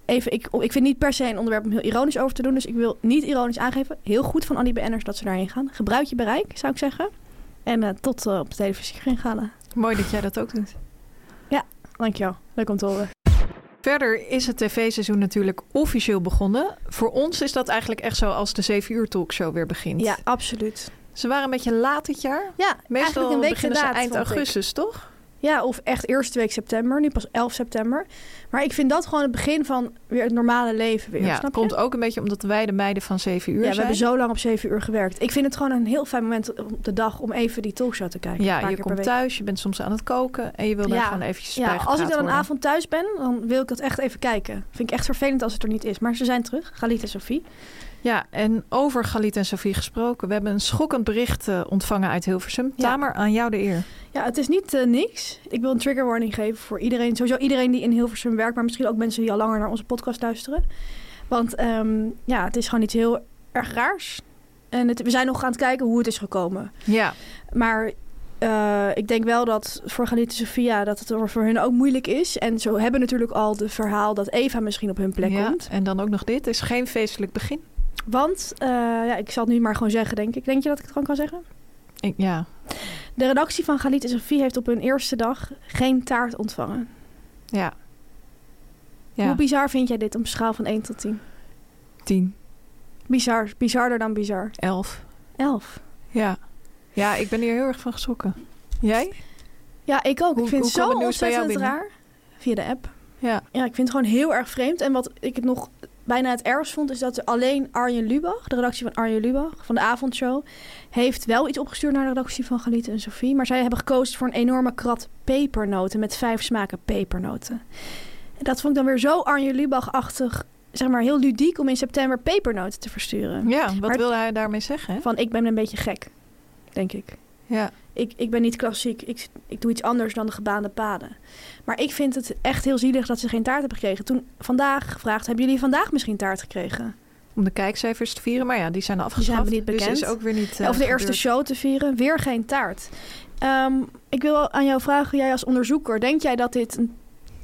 Speaker 2: even, ik, ik vind niet per se een onderwerp om heel ironisch over te doen, dus ik wil niet ironisch aangeven. Heel goed van al die BN'ers dat ze daarheen gaan. Gebruik je bereik, zou ik zeggen. En eh, tot eh, op de televisiering gaan.
Speaker 1: Mooi dat jij dat ook doet.
Speaker 2: Dankjewel, leuk om te horen.
Speaker 1: Verder is het tv-seizoen natuurlijk officieel begonnen. Voor ons is dat eigenlijk echt zo als de 7 uur talkshow weer begint.
Speaker 2: Ja, absoluut.
Speaker 1: Ze waren een beetje laat dit jaar.
Speaker 2: Ja,
Speaker 1: Meestal
Speaker 2: eigenlijk een week
Speaker 1: beginnen
Speaker 2: te laat,
Speaker 1: ze eind
Speaker 2: vond ik.
Speaker 1: augustus, toch?
Speaker 2: Ja, of echt eerste week september, nu pas 11 september. Maar ik vind dat gewoon het begin van weer het normale leven weer,
Speaker 1: ja,
Speaker 2: snap je?
Speaker 1: komt ook een beetje omdat wij de meiden van 7 uur
Speaker 2: ja, we
Speaker 1: zijn.
Speaker 2: hebben zo lang op 7 uur gewerkt. Ik vind het gewoon een heel fijn moment op de dag om even die talkshow te kijken. een
Speaker 1: ja,
Speaker 2: paar
Speaker 1: je
Speaker 2: keer per
Speaker 1: komt
Speaker 2: week.
Speaker 1: thuis, je bent soms aan het koken en je wil daar
Speaker 2: Ja.
Speaker 1: gewoon eventjes bij
Speaker 2: Ja, als ik
Speaker 1: gepraat
Speaker 2: dan een
Speaker 1: worden.
Speaker 2: avond thuis ben, dan wil ik dat echt even kijken. Vind ik echt vervelend als het er niet is. Maar ze zijn terug, Galit en Sophie.
Speaker 1: Ja, en over Galit en Sofie gesproken. We hebben een schokkend bericht eh, ontvangen uit Hilversum.
Speaker 2: Ja.
Speaker 1: Tamer, aan jou de eer.
Speaker 2: Ja, het is niet eh, niks. Ik wil een trigger warning geven voor iedereen. Sowieso iedereen die in Hilversum werkt, maar misschien ook mensen die al langer naar onze podcast luisteren. Want ehm, ja, het is gewoon iets heel erg raars. En het, we zijn nog aan het kijken hoe het is gekomen.
Speaker 1: Ja,
Speaker 2: Maar eh, ik denk wel dat voor Galit en Sophia dat het voor hun ook moeilijk is. En zo hebben natuurlijk al de verhaal dat Eva misschien op hun plek
Speaker 1: ja.
Speaker 2: komt.
Speaker 1: en dan ook nog dit. is geen feestelijk begin.
Speaker 2: Want, eh, ja, ik zal het nu maar gewoon zeggen, denk ik. Denk je dat ik het gewoon kan zeggen?
Speaker 1: Ik, ja,
Speaker 2: De redactie van Galit en Sophie heeft op hun eerste dag geen taart ontvangen.
Speaker 1: ja. Ja,
Speaker 2: Hoe bizar vind jij dit op een schaal van 1 tot 10?
Speaker 1: 10,
Speaker 2: Bizar, bizarder dan bizar.
Speaker 1: 11.
Speaker 2: 11.
Speaker 1: Ja. ja, ik ben hier heel erg van geschrokken. Jij?
Speaker 2: Ja, ik ook.
Speaker 1: Hoe-
Speaker 2: ik vind
Speaker 1: hoe
Speaker 2: het
Speaker 1: kwam
Speaker 2: zo
Speaker 1: het nieuws bij jou
Speaker 2: ontzettend
Speaker 1: binnen?
Speaker 2: raar. Via de app.
Speaker 1: Ja.
Speaker 2: Ja, ik vind het gewoon heel erg vreemd. En wat ik het nog bijna het ergst vond, is dat er alleen Arjen Lubach, de redactie van Arjen Lubach, van de avondshow, heeft wel iets opgestuurd naar de redactie van Galite en Sophie. Maar zij hebben gekozen voor een enorme krat pepernoten met vijf smaken pepernoten. En dat vond ik dan weer zo Arjen Lubach-achtig, zeg maar heel ludiek om in september pepernoten te versturen.
Speaker 1: Ja, wat
Speaker 2: Maar-
Speaker 1: wilde hij daarmee zeggen? Hè?
Speaker 2: Van ik ben een beetje gek, denk ik.
Speaker 1: Ja.
Speaker 2: Ik, ik ben niet klassiek, ik, ik doe iets anders dan de gebaande paden. Maar ik vind het echt heel zielig dat ze geen taart hebben gekregen. Toen vandaag gevraagd, hebben jullie vandaag misschien taart gekregen?
Speaker 1: Om de kijkcijfers te vieren, maar ja, die zijn afgeschaft.
Speaker 2: niet
Speaker 1: Dus
Speaker 2: bekend.
Speaker 1: is ook weer niet. eh,
Speaker 2: of de eerste
Speaker 1: gebeurd.
Speaker 2: show te vieren, weer geen taart. Ehm, ik wil aan jou vragen, jij als onderzoeker, denk jij dat dit een,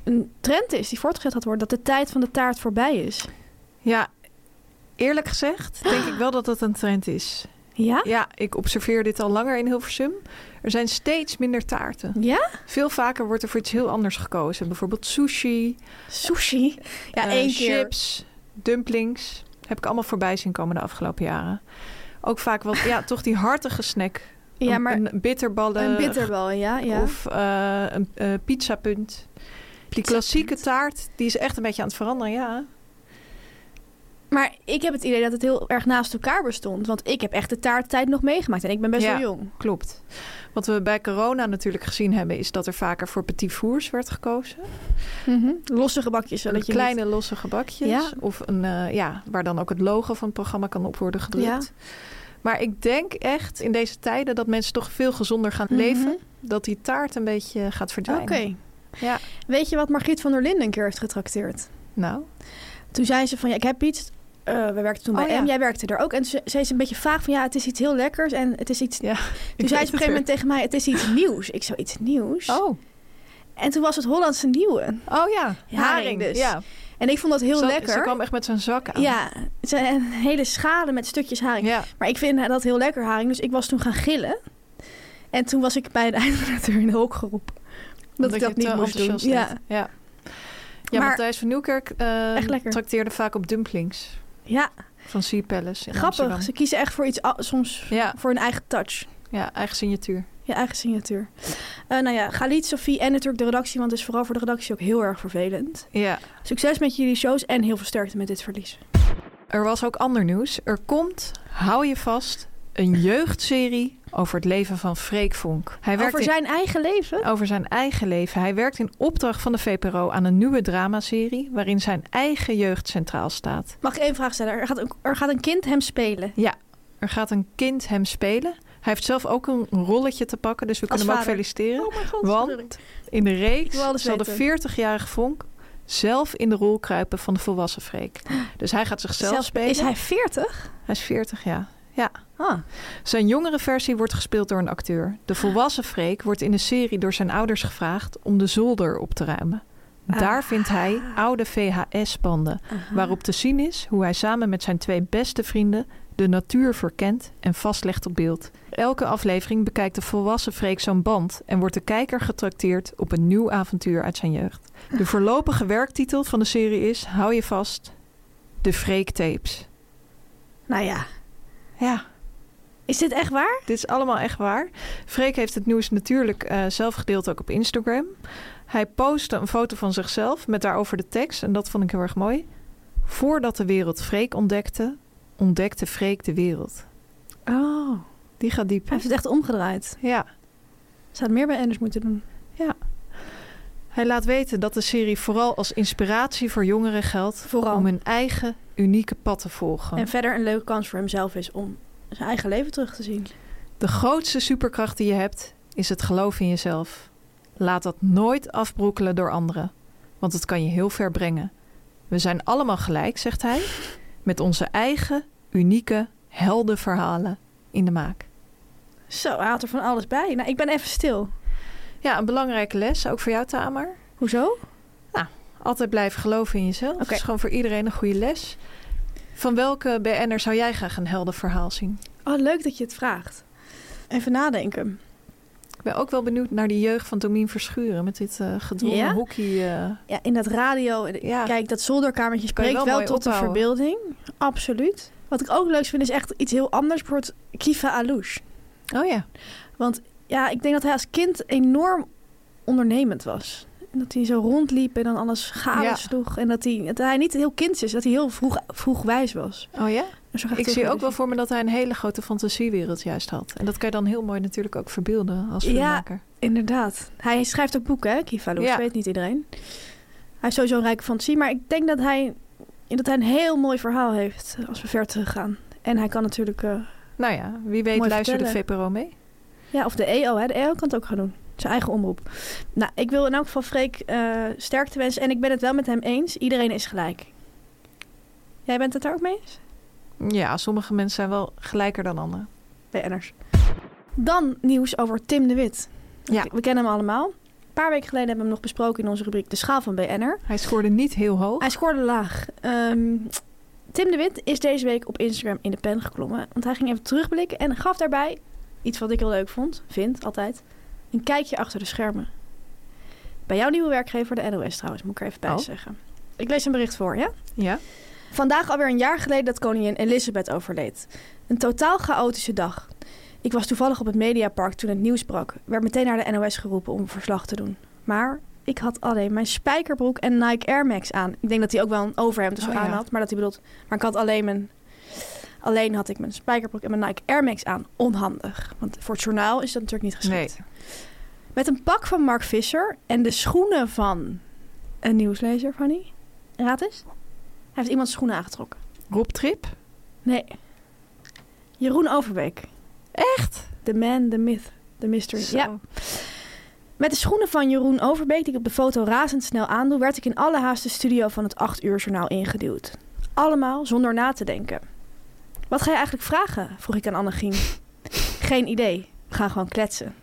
Speaker 2: een trend is die voortgezet gaat worden? Dat de tijd van de taart voorbij is?
Speaker 1: Ja, eerlijk gezegd denk ik wel dat dat een trend is.
Speaker 2: Ja?
Speaker 1: Ja, ik observeer dit al langer in Hilversum. Er zijn steeds minder taarten.
Speaker 2: Ja?
Speaker 1: Veel vaker wordt er voor iets heel anders gekozen. Bijvoorbeeld sushi,
Speaker 2: Sushi? Ja,
Speaker 1: eh,
Speaker 2: één keer.
Speaker 1: chips, dumplings. Heb ik allemaal voorbij zien komen de afgelopen jaren. Ook vaak wat, ja, toch die hartige snack.
Speaker 2: Ja,
Speaker 1: Een-
Speaker 2: maar een,
Speaker 1: een bitterballen
Speaker 2: bitterbal, ja. ja.
Speaker 1: of eh, een eh, pizzapunt. Die klassieke taart, die is echt een beetje aan het veranderen, ja.
Speaker 2: Maar ik heb het idee dat het heel erg naast elkaar bestond. Want ik heb echt de taarttijd nog meegemaakt. En ik ben best
Speaker 1: Ja.
Speaker 2: wel jong.
Speaker 1: Klopt. Wat we bij corona natuurlijk gezien hebben, is dat er vaker voor petit fours werd gekozen.
Speaker 2: Mhm. Losse gebakjes, zodat je
Speaker 1: kleine losse gebakjes.
Speaker 2: Ja.
Speaker 1: Of een, eh, ja, waar dan ook het logo van het programma kan op worden gedrukt. Maar ik denk echt in deze tijden dat mensen toch veel gezonder gaan
Speaker 2: niet-
Speaker 1: leven.
Speaker 2: Mhm.
Speaker 1: Dat die taart een beetje gaat
Speaker 2: Oké.
Speaker 1: verdwijnen. Ja.
Speaker 2: Weet je wat Margriet van der Linden een keer heeft getrakteerd?
Speaker 1: Nou,
Speaker 2: Toen zei ze van, ja, ik heb iets... Eh, we werkten toen
Speaker 1: Oh,
Speaker 2: bij
Speaker 1: ja.
Speaker 2: M, jij werkte er ook. En ze zei ze een beetje vaag van, ja, het is iets heel lekkers en het Dus is iets...
Speaker 1: Ja,
Speaker 2: toen
Speaker 1: ik weet
Speaker 2: zei ze op een gegeven moment tegen mij, het is iets nieuws. Ik zo, iets nieuws?
Speaker 1: [LAUGHS] Oh,
Speaker 2: En toen was het Hollandse nieuwe.
Speaker 1: oh ja.
Speaker 2: Haring dus.
Speaker 1: Ja.
Speaker 2: En ik vond dat heel
Speaker 1: Ze-
Speaker 2: lekker.
Speaker 1: Ze kwam echt met zo'n zak aan.
Speaker 2: ja, het zijn hele schalen met stukjes haring.
Speaker 1: Ja.
Speaker 2: Maar ik vind dat heel lekker haring. Dus ik was toen gaan gillen. En toen was ik bij de [LAUGHS] eindredacteur in de hok geroepen. Dat
Speaker 1: Omdat
Speaker 2: ik
Speaker 1: je
Speaker 2: dat niet
Speaker 1: te
Speaker 2: moest doen.
Speaker 1: enthousiast
Speaker 2: Ja.
Speaker 1: bent. ja. Ja,
Speaker 2: Maar-
Speaker 1: Matthijs van Nieuwkerk eh
Speaker 2: Echt lekker.
Speaker 1: trakteerde vaak op dumplings.
Speaker 2: Ja,
Speaker 1: Van Sea Palace in
Speaker 2: grappig.
Speaker 1: Amsterdam.
Speaker 2: Ze kiezen echt voor iets, a- soms
Speaker 1: Ja,
Speaker 2: voor hun eigen touch.
Speaker 1: ja, eigen signatuur.
Speaker 2: Je eigen signatuur. Eh, nou ja, Galit, Sophie en natuurlijk de redactie, want het is vooral voor de redactie ook heel erg vervelend.
Speaker 1: Ja.
Speaker 2: Succes met jullie shows en heel veel sterkte met dit verlies.
Speaker 1: Er was ook ander nieuws. Er komt, hou je vast, een jeugdserie over het leven van Freek Vonk. Hij werkt
Speaker 2: Over
Speaker 1: in-
Speaker 2: zijn eigen leven?
Speaker 1: over zijn eigen leven. Hij werkt in opdracht van de VPRO aan een nieuwe dramaserie... waarin zijn eigen jeugd centraal staat.
Speaker 2: Mag ik één vraag stellen? Er gaat een, er gaat een kind hem spelen.
Speaker 1: Er gaat een kind hem spelen. Hij heeft zelf ook een rolletje te pakken, dus we
Speaker 2: Als
Speaker 1: kunnen hem
Speaker 2: vader.
Speaker 1: ook feliciteren.
Speaker 2: Oh mijn god. sorry.
Speaker 1: Want in de
Speaker 2: Ik wil
Speaker 1: reeks
Speaker 2: alles
Speaker 1: zal de
Speaker 2: weten.
Speaker 1: 40-jarige Vonk zelf in de rol kruipen van de volwassen Freek. Dus hij gaat zichzelf
Speaker 2: Zelfs-
Speaker 1: spelen.
Speaker 2: Is hij 40?
Speaker 1: Hij is 40 jaar.
Speaker 2: Ah.
Speaker 1: Zijn jongere versie wordt gespeeld door een acteur. De volwassen Freek wordt in de serie door zijn ouders gevraagd om de zolder op te ruimen. Daar vindt hij oude VHS-banden, waarop te zien is hoe hij samen met zijn twee beste vrienden de natuur verkent en vastlegt op beeld. Elke aflevering bekijkt de volwassen Freek zo'n band en wordt de kijker getrakteerd op een nieuw avontuur uit zijn jeugd. De voorlopige werktitel van de serie is, hou je vast, De Freek Tapes.
Speaker 2: Nou ja.
Speaker 1: Ja,
Speaker 2: Is dit echt waar?
Speaker 1: Dit is allemaal echt waar. Freek heeft het nieuws natuurlijk eh, zelf gedeeld ook op Instagram. Hij postte een foto van zichzelf met daarover de tekst. En dat vond ik heel erg mooi. Voordat de wereld Freek ontdekte, ontdekte Freek de wereld.
Speaker 2: Oh.
Speaker 1: Die gaat diep.
Speaker 2: Hij heeft het echt omgedraaid.
Speaker 1: Ja.
Speaker 2: Ze had meer bij Anders moeten doen.
Speaker 1: Hij laat weten dat de serie vooral als inspiratie voor jongeren geldt.
Speaker 2: Vooral.
Speaker 1: Om hun eigen unieke pad te volgen.
Speaker 2: En verder een leuke kans voor hemzelf is om zijn eigen leven terug te zien.
Speaker 1: De grootste superkracht die je hebt is het geloof in jezelf. Laat dat nooit afbroekelen door anderen, want het kan je heel ver brengen. We zijn allemaal gelijk, zegt hij, met onze eigen unieke heldenverhalen in de maak.
Speaker 2: Zo, hij had er van alles bij. Nou, ik ben even stil.
Speaker 1: Ja, een belangrijke les, ook voor jou Tamer.
Speaker 2: Hoezo?
Speaker 1: Altijd blijven geloven in jezelf. Dat is gewoon voor iedereen een goede les. Van welke BN'er zou jij graag een heldenverhaal zien?
Speaker 2: Oh, leuk dat je het vraagt. Even nadenken.
Speaker 1: Ik ben ook wel benieuwd naar die jeugd van Domien Verschuren met dit eh gedwongen
Speaker 2: Ja?
Speaker 1: hockey. eh,
Speaker 2: Ja, in dat radio.
Speaker 1: Ja.
Speaker 2: Kijk, dat zolderkamertje
Speaker 1: Kan je
Speaker 2: spreekt wel,
Speaker 1: wel mooi
Speaker 2: tot de
Speaker 1: opbouwen.
Speaker 2: verbeelding. Absoluut. Wat ik ook leuk vind is echt iets heel anders. Bijvoorbeeld Kiva Alouche.
Speaker 1: Oh ja.
Speaker 2: Ja, ik denk dat hij als kind enorm ondernemend was. En dat hij zo rondliep en dan alles chaos
Speaker 1: Ja.
Speaker 2: sloeg. En dat hij, dat hij niet heel kind is, dat hij heel vroeg, vroeg wijs was.
Speaker 1: Oh ja?
Speaker 2: Zo ga
Speaker 1: Ik
Speaker 2: terug
Speaker 1: zie
Speaker 2: naar
Speaker 1: ook
Speaker 2: de-
Speaker 1: wel voor me dat hij een hele grote fantasiewereld juist had. En dat kan je dan heel mooi natuurlijk ook verbeelden als
Speaker 2: Ja.
Speaker 1: filmmaker.
Speaker 2: Inderdaad. Hij schrijft ook boeken, hè, Kiva Loes.
Speaker 1: Ja.
Speaker 2: Dat weet niet iedereen. Hij heeft sowieso een rijke fantasie. Maar ik denk dat hij, dat hij een heel mooi verhaal heeft als we ver teruggaan. En hij kan natuurlijk... eh,
Speaker 1: Nou ja, wie weet
Speaker 2: Mooi
Speaker 1: luisterde
Speaker 2: vertellen.
Speaker 1: VPRO mee.
Speaker 2: ja, of de EO, hè. De EO kan het ook gaan doen. Zijn eigen omroep. Nou, ik wil in elk geval Freek eh, sterkte wensen. En ik ben het wel met hem eens. Iedereen is gelijk. Jij bent het daar ook mee eens?
Speaker 1: Ja, sommige mensen zijn wel gelijker dan anderen.
Speaker 2: BN'ers. Dan nieuws over Tim de Wit.
Speaker 1: Ja.
Speaker 2: We kennen hem allemaal. Een paar weken geleden hebben we hem nog besproken in onze rubriek De Schaal van BN'er.
Speaker 1: Hij scoorde niet heel hoog.
Speaker 2: Hij scoorde laag. Ehm, Tim de Wit is deze week op Instagram in de pen geklommen. Want hij ging even terugblikken en gaf daarbij iets wat ik heel leuk vond, vind altijd, een kijkje achter de schermen. Bij jouw nieuwe werkgever, de NOS trouwens, moet ik er even bij
Speaker 1: Oh.
Speaker 2: zeggen. Ik lees een bericht voor, ja?
Speaker 1: Ja.
Speaker 2: Vandaag alweer een jaar geleden dat koningin Elizabeth overleed. Een totaal chaotische dag. Ik was toevallig op het Mediapark toen het nieuws brak. Werd meteen naar de NOS geroepen om verslag te doen. Maar ik had alleen mijn spijkerbroek en Nike Air Max aan. Ik denk dat hij ook wel een overhemd dus
Speaker 1: Oh,
Speaker 2: aan
Speaker 1: ja.
Speaker 2: had. Maar dat hij bedoelt, maar ik had alleen mijn... Alleen had ik mijn spijkerbroek en mijn Nike Air Max aan. Onhandig. Want voor het journaal is dat natuurlijk niet geschikt. Met een pak van Mark Visser en de schoenen van een nieuwslezer, Fanny. Raad eens. Hij heeft iemand schoenen aangetrokken.
Speaker 1: Rob Trip?
Speaker 2: Nee. Jeroen Overbeek.
Speaker 1: Echt?
Speaker 2: The man, the myth, the mystery.
Speaker 1: Zo.
Speaker 2: Ja. Met de schoenen van Jeroen Overbeek, die ik op de foto razendsnel aandoe, werd ik in alle haast de studio van het 8 uur journaal ingeduwd. Allemaal zonder na te denken. Wat ga je eigenlijk vragen? vroeg ik aan [LAUGHS] Annegien. Geen idee. We gaan gewoon kletsen.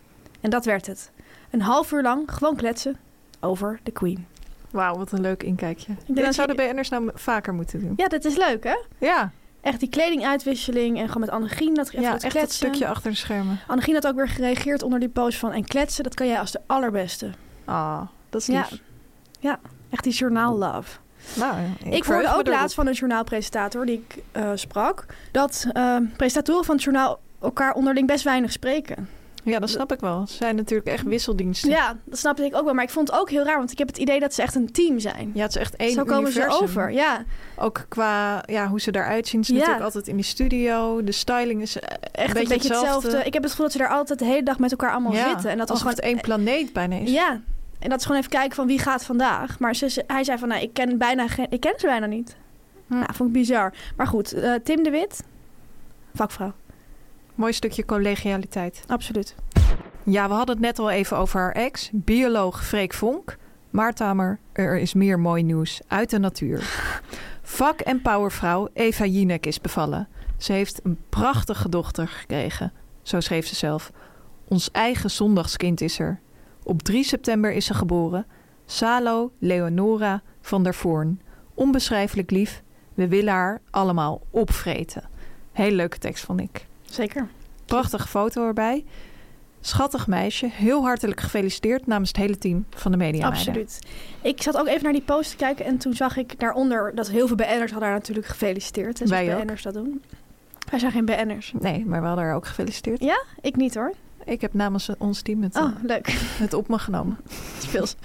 Speaker 2: En dat werd het. Een half uur lang gewoon kletsen over de Queen.
Speaker 1: Wauw, wat een leuk inkijkje.
Speaker 2: dat je-
Speaker 1: Dit zouden BN'ers nou vaker moeten doen.
Speaker 2: Ja, dat is leuk, hè?
Speaker 1: Ja,
Speaker 2: Echt die kledinguitwisseling en gewoon met Annegien dat even
Speaker 1: ja echt
Speaker 2: dat
Speaker 1: dat
Speaker 2: kletsen.
Speaker 1: stukje achter de schermen.
Speaker 2: Annegien had ook weer gereageerd onder die post van... en kletsen, dat kan jij als de allerbeste.
Speaker 1: Ah, dat is
Speaker 2: Ja.
Speaker 1: lief.
Speaker 2: Echt die journaal love.
Speaker 1: Nou, ja,
Speaker 2: Ik
Speaker 1: verheug
Speaker 2: hoorde
Speaker 1: me
Speaker 2: ook
Speaker 1: erop.
Speaker 2: laatst van een journaalpresentator die ik eh, sprak... dat eh, presentatoren van het journaal elkaar onderling best weinig spreken.
Speaker 1: Ja, dat snap ik wel. Ze zijn natuurlijk echt wisseldiensten. Ja,
Speaker 2: Ja, dat snapte ik ook wel. Maar ik vond het ook heel raar, want ik heb het idee dat ze echt een team zijn.
Speaker 1: het is echt één
Speaker 2: Zo komen ze
Speaker 1: universum. Eh,
Speaker 2: over, ja.
Speaker 1: Ook qua ja, hoe ze eruit zien. Ze
Speaker 2: Ja.
Speaker 1: natuurlijk altijd in die studio. De styling is eh,
Speaker 2: Echt een beetje hetzelfde. Ik heb het gevoel dat ze daar altijd de hele dag met elkaar allemaal
Speaker 1: Ja,
Speaker 2: zitten. En dat was
Speaker 1: alsof
Speaker 2: gewoon
Speaker 1: het één planeet bijna is.
Speaker 2: Ja, en dat is gewoon even kijken van wie gaat vandaag. Maar ze, ze- hij zei van, nou, ik ken, bijna geen, ik ken ze bijna niet.
Speaker 1: Hm.
Speaker 2: Nou, vond ik bizar. Maar goed, eh, Tim de Wit, vakvrouw,
Speaker 1: Mooi stukje collegialiteit.
Speaker 2: absoluut.
Speaker 1: Ja, we hadden het net al even over haar ex, bioloog Freek Vonk. Maar Tamer, er is meer mooi nieuws uit de natuur. Vak- en powervrouw Eva Jinek is bevallen. Ze heeft een prachtige dochter gekregen. Zo schreef ze zelf. Ons eigen zondagskind is er. Op 3 september is ze geboren. Salo Leonora van der Voorn. Onbeschrijfelijk lief. We willen haar allemaal opvreten. Hele leuke tekst vond ik.
Speaker 2: Zeker.
Speaker 1: Prachtige foto erbij. Schattig meisje. Heel hartelijk gefeliciteerd namens het hele team van de media.
Speaker 2: Absoluut. Ik zat ook even naar die post te kijken en toen zag ik daaronder dat heel veel BN'ers hadden haar natuurlijk gefeliciteerd. En
Speaker 1: Wij
Speaker 2: zoals
Speaker 1: ook.
Speaker 2: BN'ers dat doen. Wij zijn geen BN'ers.
Speaker 1: Nee, maar we hadden haar ook gefeliciteerd.
Speaker 2: Ik niet hoor.
Speaker 1: Ik heb namens ons team het,
Speaker 2: Oh,
Speaker 1: eh,
Speaker 2: leuk. [LAUGHS]
Speaker 1: het op me genomen.
Speaker 2: Speels.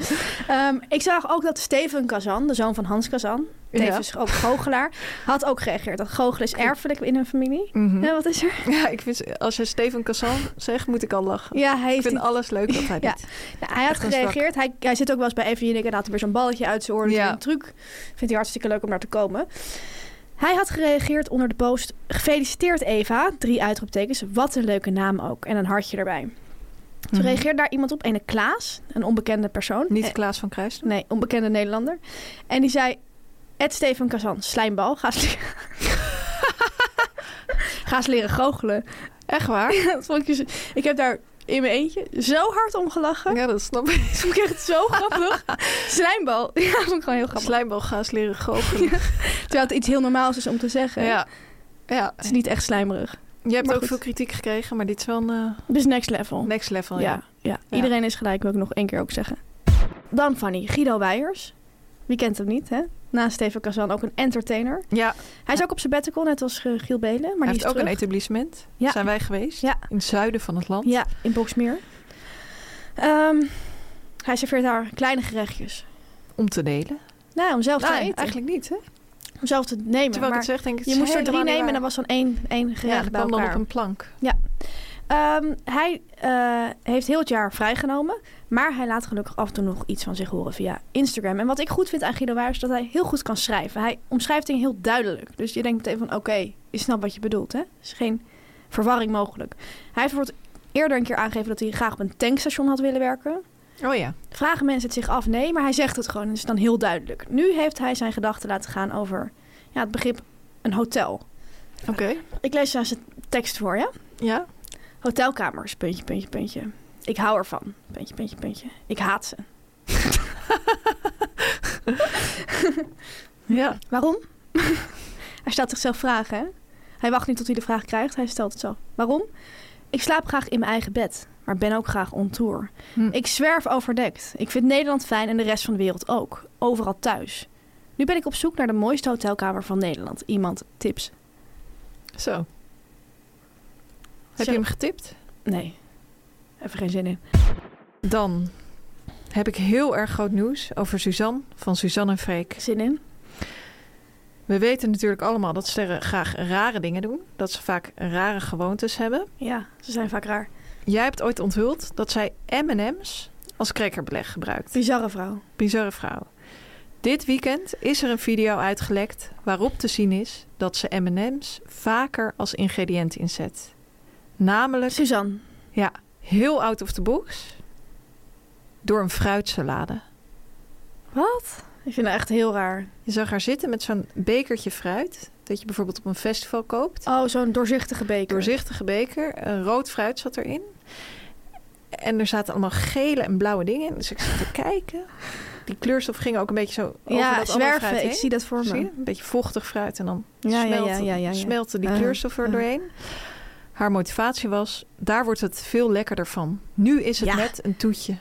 Speaker 2: Ehm, ik zag ook dat Steven Kazan, de zoon van Hans Kazan, tevens ook [LAUGHS] goochelaar, had ook gereageerd. Dat goochelen is erfelijk in hun familie.
Speaker 1: Mhm.
Speaker 2: Ja, wat is er?
Speaker 1: [LAUGHS] Ja, ik vind, als je Steven Cassan zegt, moet ik al lachen.
Speaker 2: Ja, hij,
Speaker 1: Ik
Speaker 2: heeft
Speaker 1: vind
Speaker 2: die-
Speaker 1: alles leuk dat hij
Speaker 2: Ja.
Speaker 1: dit.
Speaker 2: nou, hij had
Speaker 1: echt een zwak.
Speaker 2: gereageerd. Hij, hij zit ook wel eens bij Evelien en had er weer zo'n balletje uit zijn oren.
Speaker 1: Ja.
Speaker 2: Ja. Een truc. Vindt hij hartstikke leuk om naar te komen. Hij had gereageerd onder de post. Gefeliciteerd Eva. Drie uitroeptekens. Wat een leuke naam ook. En een hartje erbij. Toen
Speaker 1: Mhm.
Speaker 2: reageerde daar iemand op. Ene Klaas. Een onbekende persoon.
Speaker 1: Niet
Speaker 2: Eh,
Speaker 1: Klaas van Kruijsten.
Speaker 2: nee, onbekende Nederlander. En die zei... Ed Steven Kazan. Slijmbal. Ga eens, leren- [LAUGHS] Ga eens leren goochelen.
Speaker 1: Echt
Speaker 2: [LAUGHS]
Speaker 1: waar?
Speaker 2: Dat vond ik, dus- ik heb daar in mijn eentje zo hard om gelachen.
Speaker 1: Ja, dat snap ik.
Speaker 2: [LAUGHS] Dat vond ik echt zo [LAUGHS] grappig. Slijmbal. Ja, dat vond ik gewoon heel grappig.
Speaker 1: Slijmbalgaas
Speaker 2: [LAUGHS]
Speaker 1: leren goochelen.
Speaker 2: Terwijl het iets heel normaals is om te zeggen.
Speaker 1: Ja. ja.
Speaker 2: Het is niet echt slijmerig.
Speaker 1: Je hebt
Speaker 2: Maar
Speaker 1: ook
Speaker 2: goed.
Speaker 1: veel kritiek gekregen, maar dit is wel een eh,
Speaker 2: Dus next level.
Speaker 1: next level.
Speaker 2: ja,
Speaker 1: Oh Ja.
Speaker 2: ja. iedereen is gelijk, wil ik nog één keer ook zeggen. Dan Fanny, Guido Weijers. Wie kent hem niet, hè? Naast Steven Kazan ook een entertainer.
Speaker 1: ja
Speaker 2: Hij is ook op sabbatical, net als eh, Giel Belen. Maar
Speaker 1: Maar
Speaker 2: die
Speaker 1: heeft
Speaker 2: is
Speaker 1: ook
Speaker 2: terug.
Speaker 1: een etablissement.
Speaker 2: Ja.
Speaker 1: Zijn wij geweest.
Speaker 2: Ja.
Speaker 1: In het zuiden van het land.
Speaker 2: Ja, in Boksmeer. Ehm, hij serveert haar kleine gerechtjes.
Speaker 1: Om te delen.
Speaker 2: Nou, om zelf
Speaker 1: Nee,
Speaker 2: te eten.
Speaker 1: eigenlijk niet. Hè?
Speaker 2: Om zelf te nemen.
Speaker 1: Terwijl ik
Speaker 2: maar
Speaker 1: het zeg, denk ik.
Speaker 2: je moest er drie nemen en dan was dan één, één
Speaker 1: ja,
Speaker 2: gerecht
Speaker 1: dat
Speaker 2: bij
Speaker 1: kwam dan op
Speaker 2: elkaar.
Speaker 1: een plank.
Speaker 2: Ehm, hij eh, heeft heel het jaar vrijgenomen. Maar hij laat gelukkig af en toe nog iets van zich horen via Instagram. En wat ik goed vind aan Guido Weijers is dat hij heel goed kan schrijven. Hij omschrijft dingen heel duidelijk. Dus je denkt meteen van oké, je snapt wat je bedoelt. Hè? Er is geen verwarring mogelijk. Hij heeft bijvoorbeeld eerder een keer aangegeven dat hij graag op een tankstation had willen werken.
Speaker 1: Oh ja.
Speaker 2: Vragen mensen het zich af? Nee, maar hij zegt het gewoon. En het is dan heel duidelijk. Nu heeft hij zijn gedachten laten gaan over ja, het begrip een hotel.
Speaker 1: Oké.
Speaker 2: Ik lees daar zijn tekst voor, ja?
Speaker 1: Ja.
Speaker 2: Hotelkamers, puntje, puntje, puntje. Ik hou ervan, puntje, puntje, puntje. Ik haat ze.
Speaker 1: Ja.
Speaker 2: Waarom? [LAUGHS] hij stelt zichzelf vragen, hè? Hij wacht niet tot hij de vraag krijgt, hij stelt het zo. Waarom? Ik slaap graag in mijn eigen bed, maar ben ook graag on tour.
Speaker 1: Hm.
Speaker 2: Ik zwerf overdekt. Ik vind Nederland fijn en de rest van de wereld ook. Overal thuis. Nu ben ik op zoek naar de mooiste hotelkamer van Nederland. Iemand tips?
Speaker 1: Zo. Heb je
Speaker 2: Zo.
Speaker 1: hem getipt?
Speaker 2: Nee. Even geen zin in.
Speaker 1: Dan heb ik heel erg groot nieuws over Suzanne van Suzanne en Freek.
Speaker 2: Zin in?
Speaker 1: We weten natuurlijk allemaal dat sterren graag rare dingen doen. Dat ze vaak rare gewoontes hebben.
Speaker 2: Ja, ze zijn vaak raar.
Speaker 1: Jij hebt ooit onthuld dat zij M&M's als crackerbeleg gebruikt.
Speaker 2: Bizarre vrouw.
Speaker 1: Bizarre vrouw. Dit weekend is er een video uitgelekt waarop te zien is dat ze M&M's vaker als ingrediënt inzet. Namelijk
Speaker 2: Suzanne.
Speaker 1: heel out of the box door een fruitsalade.
Speaker 2: Ik vind haar echt heel raar.
Speaker 1: Je zag haar zitten met zo'n bekertje fruit dat je bijvoorbeeld op een festival koopt.
Speaker 2: Oh, zo'n doorzichtige beker.
Speaker 1: Doorzichtige beker, een rood fruit zat erin. En er zaten allemaal gele en blauwe dingen in. Dus ik zat te kijken. Die kleurstof ging ook een beetje zo over dat
Speaker 2: ja,
Speaker 1: andere fruit
Speaker 2: zwerven.
Speaker 1: heen.
Speaker 2: Ik zie dat voor me.
Speaker 1: Zie je? Een beetje vochtig fruit en dan
Speaker 2: Ja, ja,
Speaker 1: smelten,
Speaker 2: ja, ja, ja, ja.
Speaker 1: smelten die
Speaker 2: Ja,
Speaker 1: kleurstof er
Speaker 2: ja.
Speaker 1: doorheen. Haar motivatie was, daar wordt het veel lekkerder van. Nu is het
Speaker 2: Ja.
Speaker 1: net een toetje.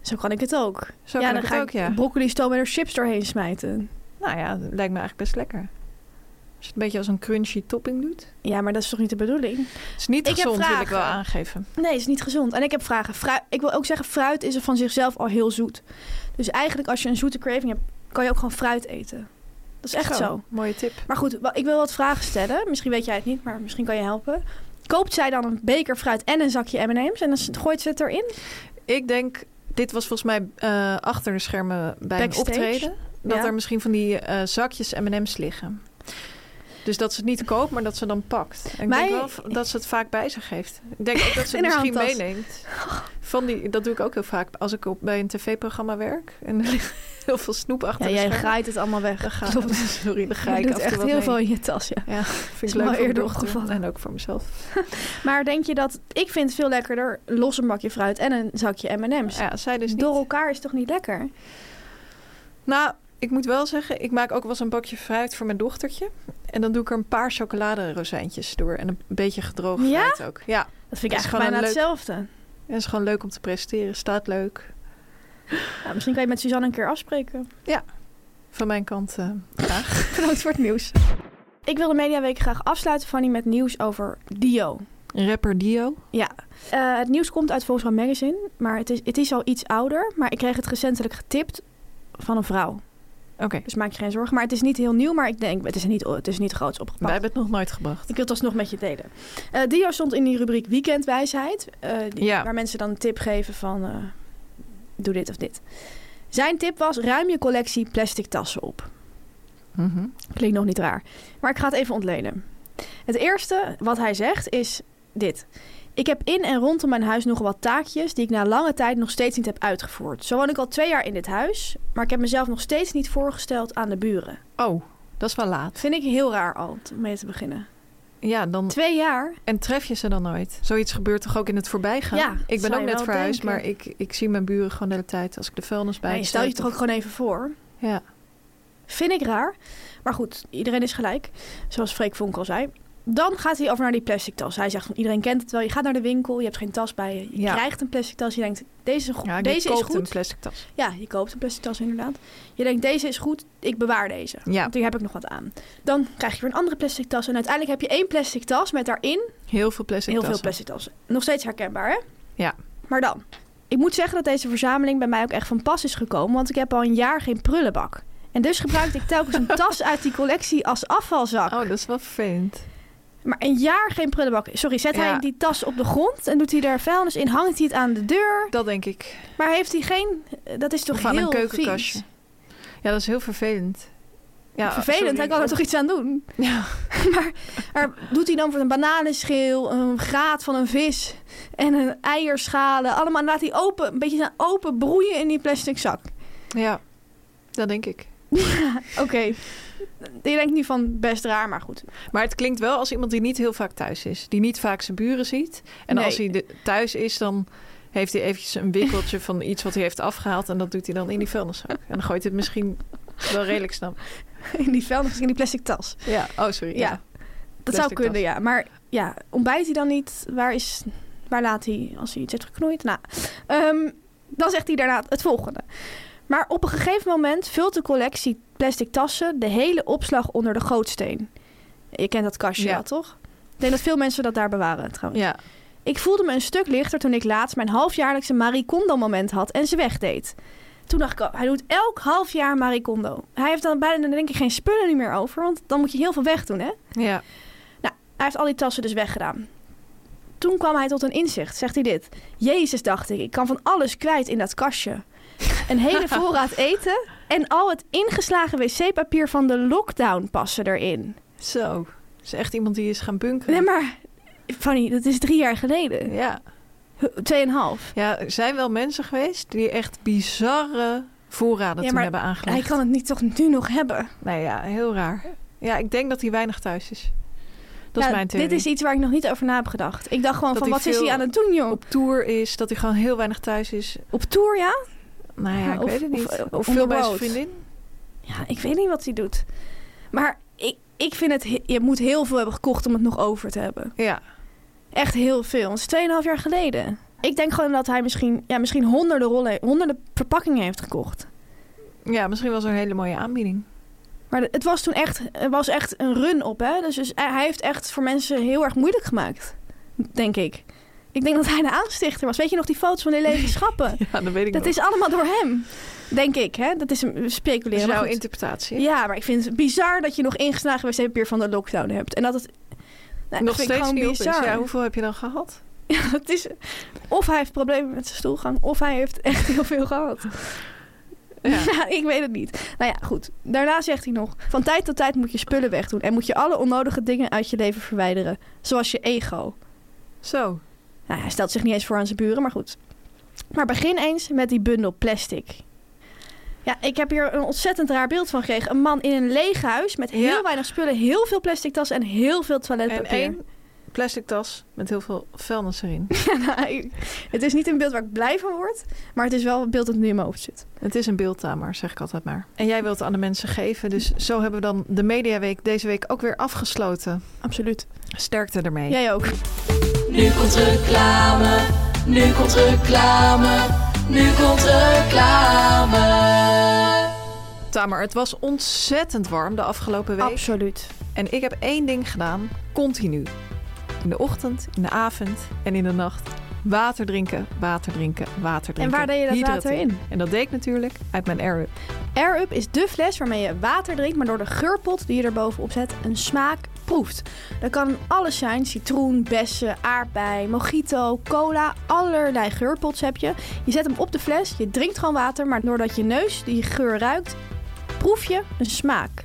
Speaker 2: Zo kan ik het ook.
Speaker 1: Zo
Speaker 2: ja,
Speaker 1: kan
Speaker 2: dan
Speaker 1: ik
Speaker 2: ga
Speaker 1: het ook,
Speaker 2: ik
Speaker 1: ja.
Speaker 2: broccoli stoom en er chips doorheen smijten.
Speaker 1: Nou ja, dat lijkt me eigenlijk best lekker. Als je het een beetje als een crunchy topping doet.
Speaker 2: Ja, maar dat is toch niet de bedoeling?
Speaker 1: Het is niet
Speaker 2: Ik heb
Speaker 1: gezond, wil ik wel
Speaker 2: vragen.
Speaker 1: aangeven.
Speaker 2: Nee, het is niet gezond. En ik heb vragen. Fruit, ik wil ook zeggen, fruit is er van zichzelf al heel zoet. Dus eigenlijk als je een zoete craving hebt, kan je ook gewoon fruit eten. Dat is echt zo.
Speaker 1: Mooie tip.
Speaker 2: Maar goed, wa- ik wil wat vragen stellen. Misschien weet jij het niet, maar misschien kan je helpen. Koopt zij dan een beker fruit en een zakje M&M's en dan s- gooit ze het erin?
Speaker 1: Ik denk, dit was volgens mij eh, achter de schermen bij
Speaker 2: Backstage?
Speaker 1: een optreden. Dat
Speaker 2: Ja.
Speaker 1: er misschien van die eh, zakjes M&M's liggen. Dus dat ze het niet koopt, maar dat ze dan pakt. En
Speaker 2: Mij-
Speaker 1: ik denk wel v- dat ze het vaak bij zich heeft. Ik denk ook dat ze
Speaker 2: [LAUGHS] In
Speaker 1: het
Speaker 2: haar
Speaker 1: misschien
Speaker 2: handtas.
Speaker 1: meeneemt. Van die, dat doe ik ook heel vaak als ik op, bij een tv-programma werk. En er ligt [LAUGHS] heel veel snoep achter
Speaker 2: Ja,
Speaker 1: de
Speaker 2: jij
Speaker 1: schermen.
Speaker 2: graait het allemaal weg.
Speaker 1: Dan ga, [LAUGHS]
Speaker 2: Klopt.
Speaker 1: sorry, dan ga
Speaker 2: Je
Speaker 1: ik
Speaker 2: doet
Speaker 1: af en toe
Speaker 2: echt
Speaker 1: wat
Speaker 2: heel
Speaker 1: mee.
Speaker 2: veel in je tas, ja.
Speaker 1: Ja, vind
Speaker 2: Is
Speaker 1: ik
Speaker 2: me
Speaker 1: leuk
Speaker 2: al
Speaker 1: voor mijn
Speaker 2: eerder
Speaker 1: dochter
Speaker 2: opgevallen.
Speaker 1: En ook voor mezelf.
Speaker 2: Maar denk je dat... Ik vind het veel lekkerder los een bakje fruit en een zakje M&M's.
Speaker 1: Ja, zij dus niet.
Speaker 2: Door elkaar is toch niet lekker?
Speaker 1: Nou, ik moet wel zeggen, ik maak ook wel eens een bakje fruit voor mijn dochtertje. En dan doe ik er een paar chocoladerozijntjes door. En een beetje gedroogd
Speaker 2: Ja?
Speaker 1: fruit ook. Ja,
Speaker 2: Dat vind ik
Speaker 1: Dat is
Speaker 2: eigenlijk
Speaker 1: gewoon
Speaker 2: bijna
Speaker 1: een
Speaker 2: hetzelfde.
Speaker 1: en dat is gewoon leuk om te presteren. Staat leuk.
Speaker 2: Nou, misschien kan je met Suzanne een
Speaker 1: [LAUGHS]
Speaker 2: keer afspreken. [LAUGHS]
Speaker 1: Van mijn kant eh, graag.
Speaker 2: Bedankt voor het nieuws. Ik wil de Mediaweek graag afsluiten, Fanny, met nieuws over Dio.
Speaker 1: Rapper Dio.
Speaker 2: Ja, eh, het nieuws komt uit Volkswagen Magazine, maar het is, het is al iets ouder. Maar ik kreeg het recentelijk getipt van een vrouw.
Speaker 1: Oké,
Speaker 2: Dus maak je geen zorgen. Maar het is niet heel nieuw, maar ik denk, het is niet, het is niet groots
Speaker 1: wij
Speaker 2: opgepakt.
Speaker 1: hebben het nog nooit gebracht.
Speaker 2: Ik wil het alsnog met je delen. Eh, Dio stond in die rubriek Weekendwijsheid. eh, die-
Speaker 1: Ja.
Speaker 2: Waar mensen dan een tip geven van... eh, doe dit of dit. Zijn tip was, ruim je collectie plastic tassen op.
Speaker 1: Mhm.
Speaker 2: Klinkt nog niet raar. Maar ik ga het even ontleden. Het eerste wat hij zegt is dit. Ik heb in en rondom mijn huis nog wat taakjes die ik na lange tijd nog steeds niet heb uitgevoerd. Zo woon ik al twee jaar in dit huis, maar ik heb mezelf nog steeds niet voorgesteld aan de buren.
Speaker 1: Oh, dat is wel laat.
Speaker 2: Vind ik heel raar al om mee te beginnen.
Speaker 1: Ja, dan...
Speaker 2: Twee jaar?
Speaker 1: En tref je ze dan nooit? Zoiets gebeurt toch ook in het voorbijgaan?
Speaker 2: Ja, dat
Speaker 1: ik ben
Speaker 2: zou
Speaker 1: ook
Speaker 2: je
Speaker 1: net
Speaker 2: wel
Speaker 1: verhuisd,
Speaker 2: denken.
Speaker 1: maar ik, ik zie mijn buren gewoon de hele tijd als ik de vuilnis bij
Speaker 2: Nee,
Speaker 1: de
Speaker 2: stel je
Speaker 1: zetel-
Speaker 2: toch ook gewoon even voor.
Speaker 1: Ja.
Speaker 2: Vind ik raar. Maar goed, iedereen is gelijk. Zoals Freek Vonk al zei. Dan gaat hij over naar die plastic tas. Hij zegt van iedereen kent het wel. Je gaat naar de winkel, je hebt geen tas bij je. Je
Speaker 1: Ja.
Speaker 2: krijgt een plastic tas. Je denkt, deze is, go-
Speaker 1: Ja, ik
Speaker 2: deze is
Speaker 1: koop een
Speaker 2: goed.
Speaker 1: plastic tas.
Speaker 2: Ja, je koopt een plastic tas inderdaad. Je denkt, deze is goed. Ik bewaar deze.
Speaker 1: Ja,
Speaker 2: Want hier heb ik nog wat aan. Dan krijg je weer een andere plastic tas. En uiteindelijk heb je één plastic tas met daarin
Speaker 1: heel veel plastic
Speaker 2: Heel
Speaker 1: tassen.
Speaker 2: veel plastic tassen. Nog steeds herkenbaar, hè?
Speaker 1: Ja.
Speaker 2: Maar dan. Ik moet zeggen dat deze verzameling bij mij ook echt van pas is gekomen, want ik heb al een jaar geen prullenbak. En dus gebruikte ik telkens een tas uit die collectie als afvalzak.
Speaker 1: Oh, dat is wel vervelend.
Speaker 2: Maar een jaar geen prullenbak. Sorry, zet hij
Speaker 1: Ja.
Speaker 2: die tas op de grond en doet hij er vuilnis in, hangt hij het aan de deur.
Speaker 1: Dat denk ik.
Speaker 2: Maar heeft hij geen... eh, Dat is toch
Speaker 1: Of aan
Speaker 2: heel
Speaker 1: een keukenkastje.
Speaker 2: vies.
Speaker 1: Ja, dat is heel vervelend. Ja,
Speaker 2: Vervelend,
Speaker 1: sorry.
Speaker 2: hij kan er toch iets aan doen?
Speaker 1: Ja.
Speaker 2: [LAUGHS] maar, maar doet hij dan voor een bananenschil, een graat van een vis en een eierschalen. Allemaal laat hij open, een beetje zijn open broeien in die plastic zak.
Speaker 1: Ja, dat denk ik.
Speaker 2: Oké. Je denkt nu van best raar, maar goed. [LAUGHS]
Speaker 1: Maar het klinkt wel als iemand die niet heel vaak thuis is. Die niet vaak zijn buren ziet. En
Speaker 2: Nee.
Speaker 1: als hij de- thuis is, dan heeft hij eventjes een wikkeltje van iets wat hij heeft afgehaald. En dat doet hij dan in die vuilniszak. En dan gooit hij het misschien wel redelijk snel.
Speaker 2: In die vuilnis, in die plastic tas.
Speaker 1: Ja, oh sorry.
Speaker 2: Ja,
Speaker 1: Ja,
Speaker 2: Dat
Speaker 1: Plastic
Speaker 2: zou kunnen,
Speaker 1: tas.
Speaker 2: ja. Maar ja, ontbijt hij dan niet? Waar, is, waar laat hij als hij iets heeft geknoeid? Nou, ehm, dan zegt hij daarna het volgende. Maar op een gegeven moment vult de collectie plastic tassen de hele opslag onder de gootsteen. Je kent dat kastje,
Speaker 1: Ja.
Speaker 2: ja, toch? Ik denk dat veel mensen dat daar bewaren trouwens.
Speaker 1: ja.
Speaker 2: Ik voelde me een stuk lichter toen ik laatst mijn halfjaarlijkse Marie Kondo moment had en ze wegdeed. Toen dacht ik, al, hij doet elk half jaar Marie Kondo. Hij heeft dan bijna denk ik geen spullen nu meer over, want dan moet je heel veel wegdoen, hè?
Speaker 1: ja.
Speaker 2: Hij heeft al die tassen dus weggedaan. Toen kwam hij tot een inzicht, zegt hij dit. Jezus, dacht ik, ik kan van alles kwijt in dat kastje. Een
Speaker 1: [LAUGHS]
Speaker 2: hele voorraad eten en al het ingeslagen wc-papier van de lockdown passen erin.
Speaker 1: Zo. Dat is echt iemand die is gaan bunkeren.
Speaker 2: Nee, maar Fanny, dat is drie jaar geleden.
Speaker 1: Ja.
Speaker 2: Tweeënhalf.
Speaker 1: ja, er zijn wel mensen geweest die echt bizarre voorraden
Speaker 2: Ja,
Speaker 1: toen
Speaker 2: maar
Speaker 1: hebben aangelegd.
Speaker 2: Hij kan het niet toch nu nog hebben?
Speaker 1: Nou ja, heel raar. Ja, ik denk dat hij weinig thuis is. Dat
Speaker 2: Ja,
Speaker 1: is mijn theorie.
Speaker 2: Nou, Dit is iets waar ik nog niet over na heb gedacht. Ik dacht gewoon
Speaker 1: Dat
Speaker 2: van,
Speaker 1: hij
Speaker 2: wat is hij
Speaker 1: veel
Speaker 2: aan het doen, joh? Op,
Speaker 1: Op tour is, dat hij gewoon heel weinig thuis is.
Speaker 2: tour, ja?
Speaker 1: Nou ja,
Speaker 2: Ja,
Speaker 1: ik
Speaker 2: of-
Speaker 1: weet het
Speaker 2: of-
Speaker 1: niet.
Speaker 2: of
Speaker 1: Of,
Speaker 2: on the
Speaker 1: veel bij zijn
Speaker 2: road.
Speaker 1: vriendin.
Speaker 2: Ja, ik weet niet wat hij doet. Maar ik, ik vind het... he- Je moet heel veel hebben gekocht om het nog over te hebben.
Speaker 1: Ja.
Speaker 2: Echt heel veel. Het is 2,5 jaar geleden. Ik denk gewoon dat hij misschien, ja, misschien honderden rollen, honderden verpakkingen heeft gekocht.
Speaker 1: Ja, misschien was er een hele mooie aanbieding.
Speaker 2: Maar de- het was toen echt, het was echt een run op, hè? Dus, dus hij hij heeft echt voor mensen heel erg moeilijk gemaakt, denk ik. Ik denk dat hij de aanstichter was. Weet je nog die foto's van die
Speaker 1: [LAUGHS]
Speaker 2: lege schappen?
Speaker 1: Ja, dat weet ik
Speaker 2: Dat
Speaker 1: nog.
Speaker 2: is allemaal door hem, denk ik, hè? Dat is een
Speaker 1: Dat is
Speaker 2: speculeren. maar
Speaker 1: jouw
Speaker 2: goed.
Speaker 1: interpretatie.
Speaker 2: Ja, maar ik vind het bizar dat je nog ingeslagen wc-papier van de lockdown hebt. En dat het... Nou,
Speaker 1: nog
Speaker 2: dat vind ik
Speaker 1: steeds niet
Speaker 2: gewoon
Speaker 1: op is.
Speaker 2: bizar.
Speaker 1: Ja, hoeveel heb je dan gehad?
Speaker 2: Ja, [LAUGHS] het is, of hij heeft problemen met zijn stoelgang, of hij heeft echt heel veel gehad.
Speaker 1: [LAUGHS] Ja.
Speaker 2: Ja, ik weet het niet. Nou ja, goed. Daarna zegt hij nog: van tijd tot tijd moet je spullen wegdoen en moet je alle onnodige dingen uit je leven verwijderen, zoals je ego.
Speaker 1: Zo.
Speaker 2: Nou, hij stelt zich niet eens voor aan zijn buren, maar goed. Maar begin eens met die bundel plastic. Ja, ik heb hier een ontzettend raar beeld van gekregen. Een man in een leeg huis met heel
Speaker 1: Ja.
Speaker 2: weinig spullen, heel veel plastic tassen en heel veel
Speaker 1: En
Speaker 2: toiletpapier.
Speaker 1: één plastic tas met heel veel vuilnis erin.
Speaker 2: [LAUGHS] Nou, ik- het is niet een beeld waar ik blij van word, maar het is wel een beeld dat nu in mijn hoofd zit.
Speaker 1: Het is een beeldtamer, zeg ik altijd maar. En jij wilt het aan de mensen geven. Dus zo hebben we dan de Mediaweek deze week ook weer afgesloten.
Speaker 2: Absoluut.
Speaker 1: Sterkte ermee.
Speaker 2: Jij ook.
Speaker 3: Nu komt reclame, nu komt reclame, nu komt reclame.
Speaker 1: Tamer, het was ontzettend warm de afgelopen week.
Speaker 2: Absoluut.
Speaker 1: En ik heb één ding gedaan, continu. In de ochtend, in de avond en in de nacht. Water drinken, water drinken, water drinken.
Speaker 2: En waar deed je dat
Speaker 1: Hydrateer.
Speaker 2: water in?
Speaker 1: En dat deed ik natuurlijk uit mijn air-up.
Speaker 2: Air Up is de fles waarmee je water drinkt, maar door de geurpot die je erbovenop zet, een smaak proeft. Dat kan alles zijn: citroen, bessen, aardbei, mojito, cola, allerlei geurpots heb je. Je zet hem op de fles, je drinkt gewoon water, maar doordat je neus die geur ruikt, proef je een smaak.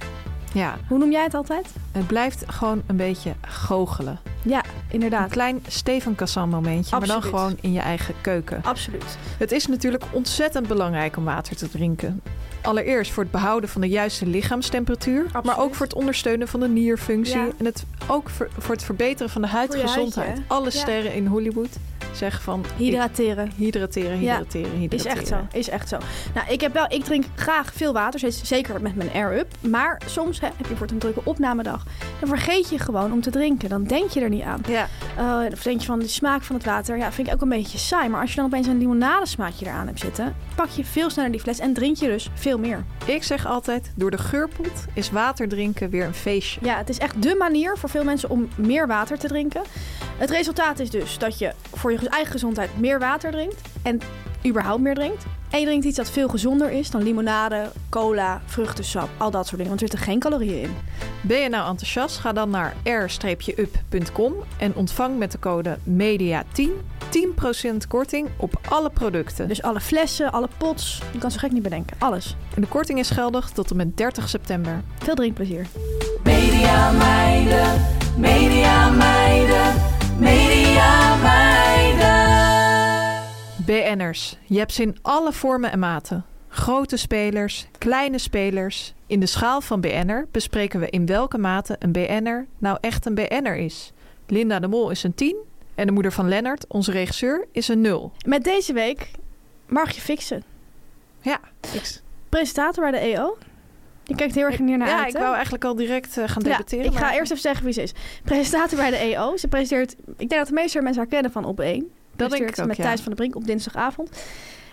Speaker 1: Ja,
Speaker 2: Hoe noem jij het altijd?
Speaker 1: het blijft gewoon een beetje goochelen.
Speaker 2: Ja,
Speaker 1: Een
Speaker 2: inderdaad.
Speaker 1: klein Stefan Cassan momentje, maar dan
Speaker 2: Absoluut.
Speaker 1: gewoon in je eigen keuken.
Speaker 2: Absoluut.
Speaker 1: Het is natuurlijk ontzettend belangrijk om water te drinken. Allereerst voor het behouden van de juiste lichaamstemperatuur, maar ook
Speaker 2: Absoluut.
Speaker 1: voor het ondersteunen van de nierfunctie
Speaker 2: Ja.
Speaker 1: en het, ook voor, voor het verbeteren van de
Speaker 2: je huidje,
Speaker 1: huidgezondheid.
Speaker 2: hè?
Speaker 1: Alle
Speaker 2: Ja.
Speaker 1: sterren in Hollywood zeggen van ik-
Speaker 2: Hydrateren.
Speaker 1: hydrateren,
Speaker 2: Ja,
Speaker 1: hydrateren,
Speaker 2: Is
Speaker 1: hydrateren.
Speaker 2: echt zo, is echt zo. Nou, ik heb wel, ik drink graag veel water, steeds- zeker met mijn air-up. Maar soms hè, heb je voor een drukke opnamedag, dan vergeet je gewoon om te drinken. Dan denk je er niet aan.
Speaker 1: Ja,
Speaker 2: Eh, of denk je van de smaak van het water, ja, vind ik ook een beetje saai. Maar als je dan opeens een limonadesmaakje eraan hebt zitten, pak je veel sneller die fles en drink je dus veel meer.
Speaker 1: ik zeg altijd, door de geurpot is water drinken weer een feestje.
Speaker 2: Ja, het is echt dé manier voor veel mensen om meer water te drinken. Het resultaat is dus dat je voor je eigen gezondheid meer water drinkt en überhaupt meer drinkt. En je drinkt iets dat veel gezonder is dan limonade, cola, vruchtensap, al dat soort dingen. Want er zitten geen calorieën in.
Speaker 1: Ben je nou enthousiast? Ga dan naar r-up.com en ontvang met de code MEDIA10 10% korting op alle producten.
Speaker 2: Dus alle flessen, alle pots, je kan zo gek niet bedenken. Alles.
Speaker 1: En de korting is geldig tot en met 30 september.
Speaker 2: Veel drinkplezier.
Speaker 3: Media meiden, media meiden, media meiden.
Speaker 1: BN'ers, je hebt ze in alle vormen en maten. Grote spelers, kleine spelers. In de schaal van BN'er bespreken we in welke mate een BN'er nou echt een BN'er is. Linda de Mol is een 10 en de moeder van Lennart, onze regisseur, is een 0.
Speaker 2: Met deze week mag je fixen.
Speaker 1: Ja,
Speaker 2: Presentator bij de EO. Je kijkt heel erg hier naar
Speaker 1: ja
Speaker 2: uit,
Speaker 1: ik
Speaker 2: hè?
Speaker 1: wou eigenlijk al direct eh, gaan debatteren.
Speaker 2: Ja, ik ga
Speaker 1: maar
Speaker 2: eerst even zeggen wie ze is. Presentator bij de EO. Ze presenteert, ik denk dat de meeste mensen haar kennen van Op 1.
Speaker 1: dat denk ik ook,
Speaker 2: met
Speaker 1: ja.
Speaker 2: Thijs van der Brink op dinsdagavond.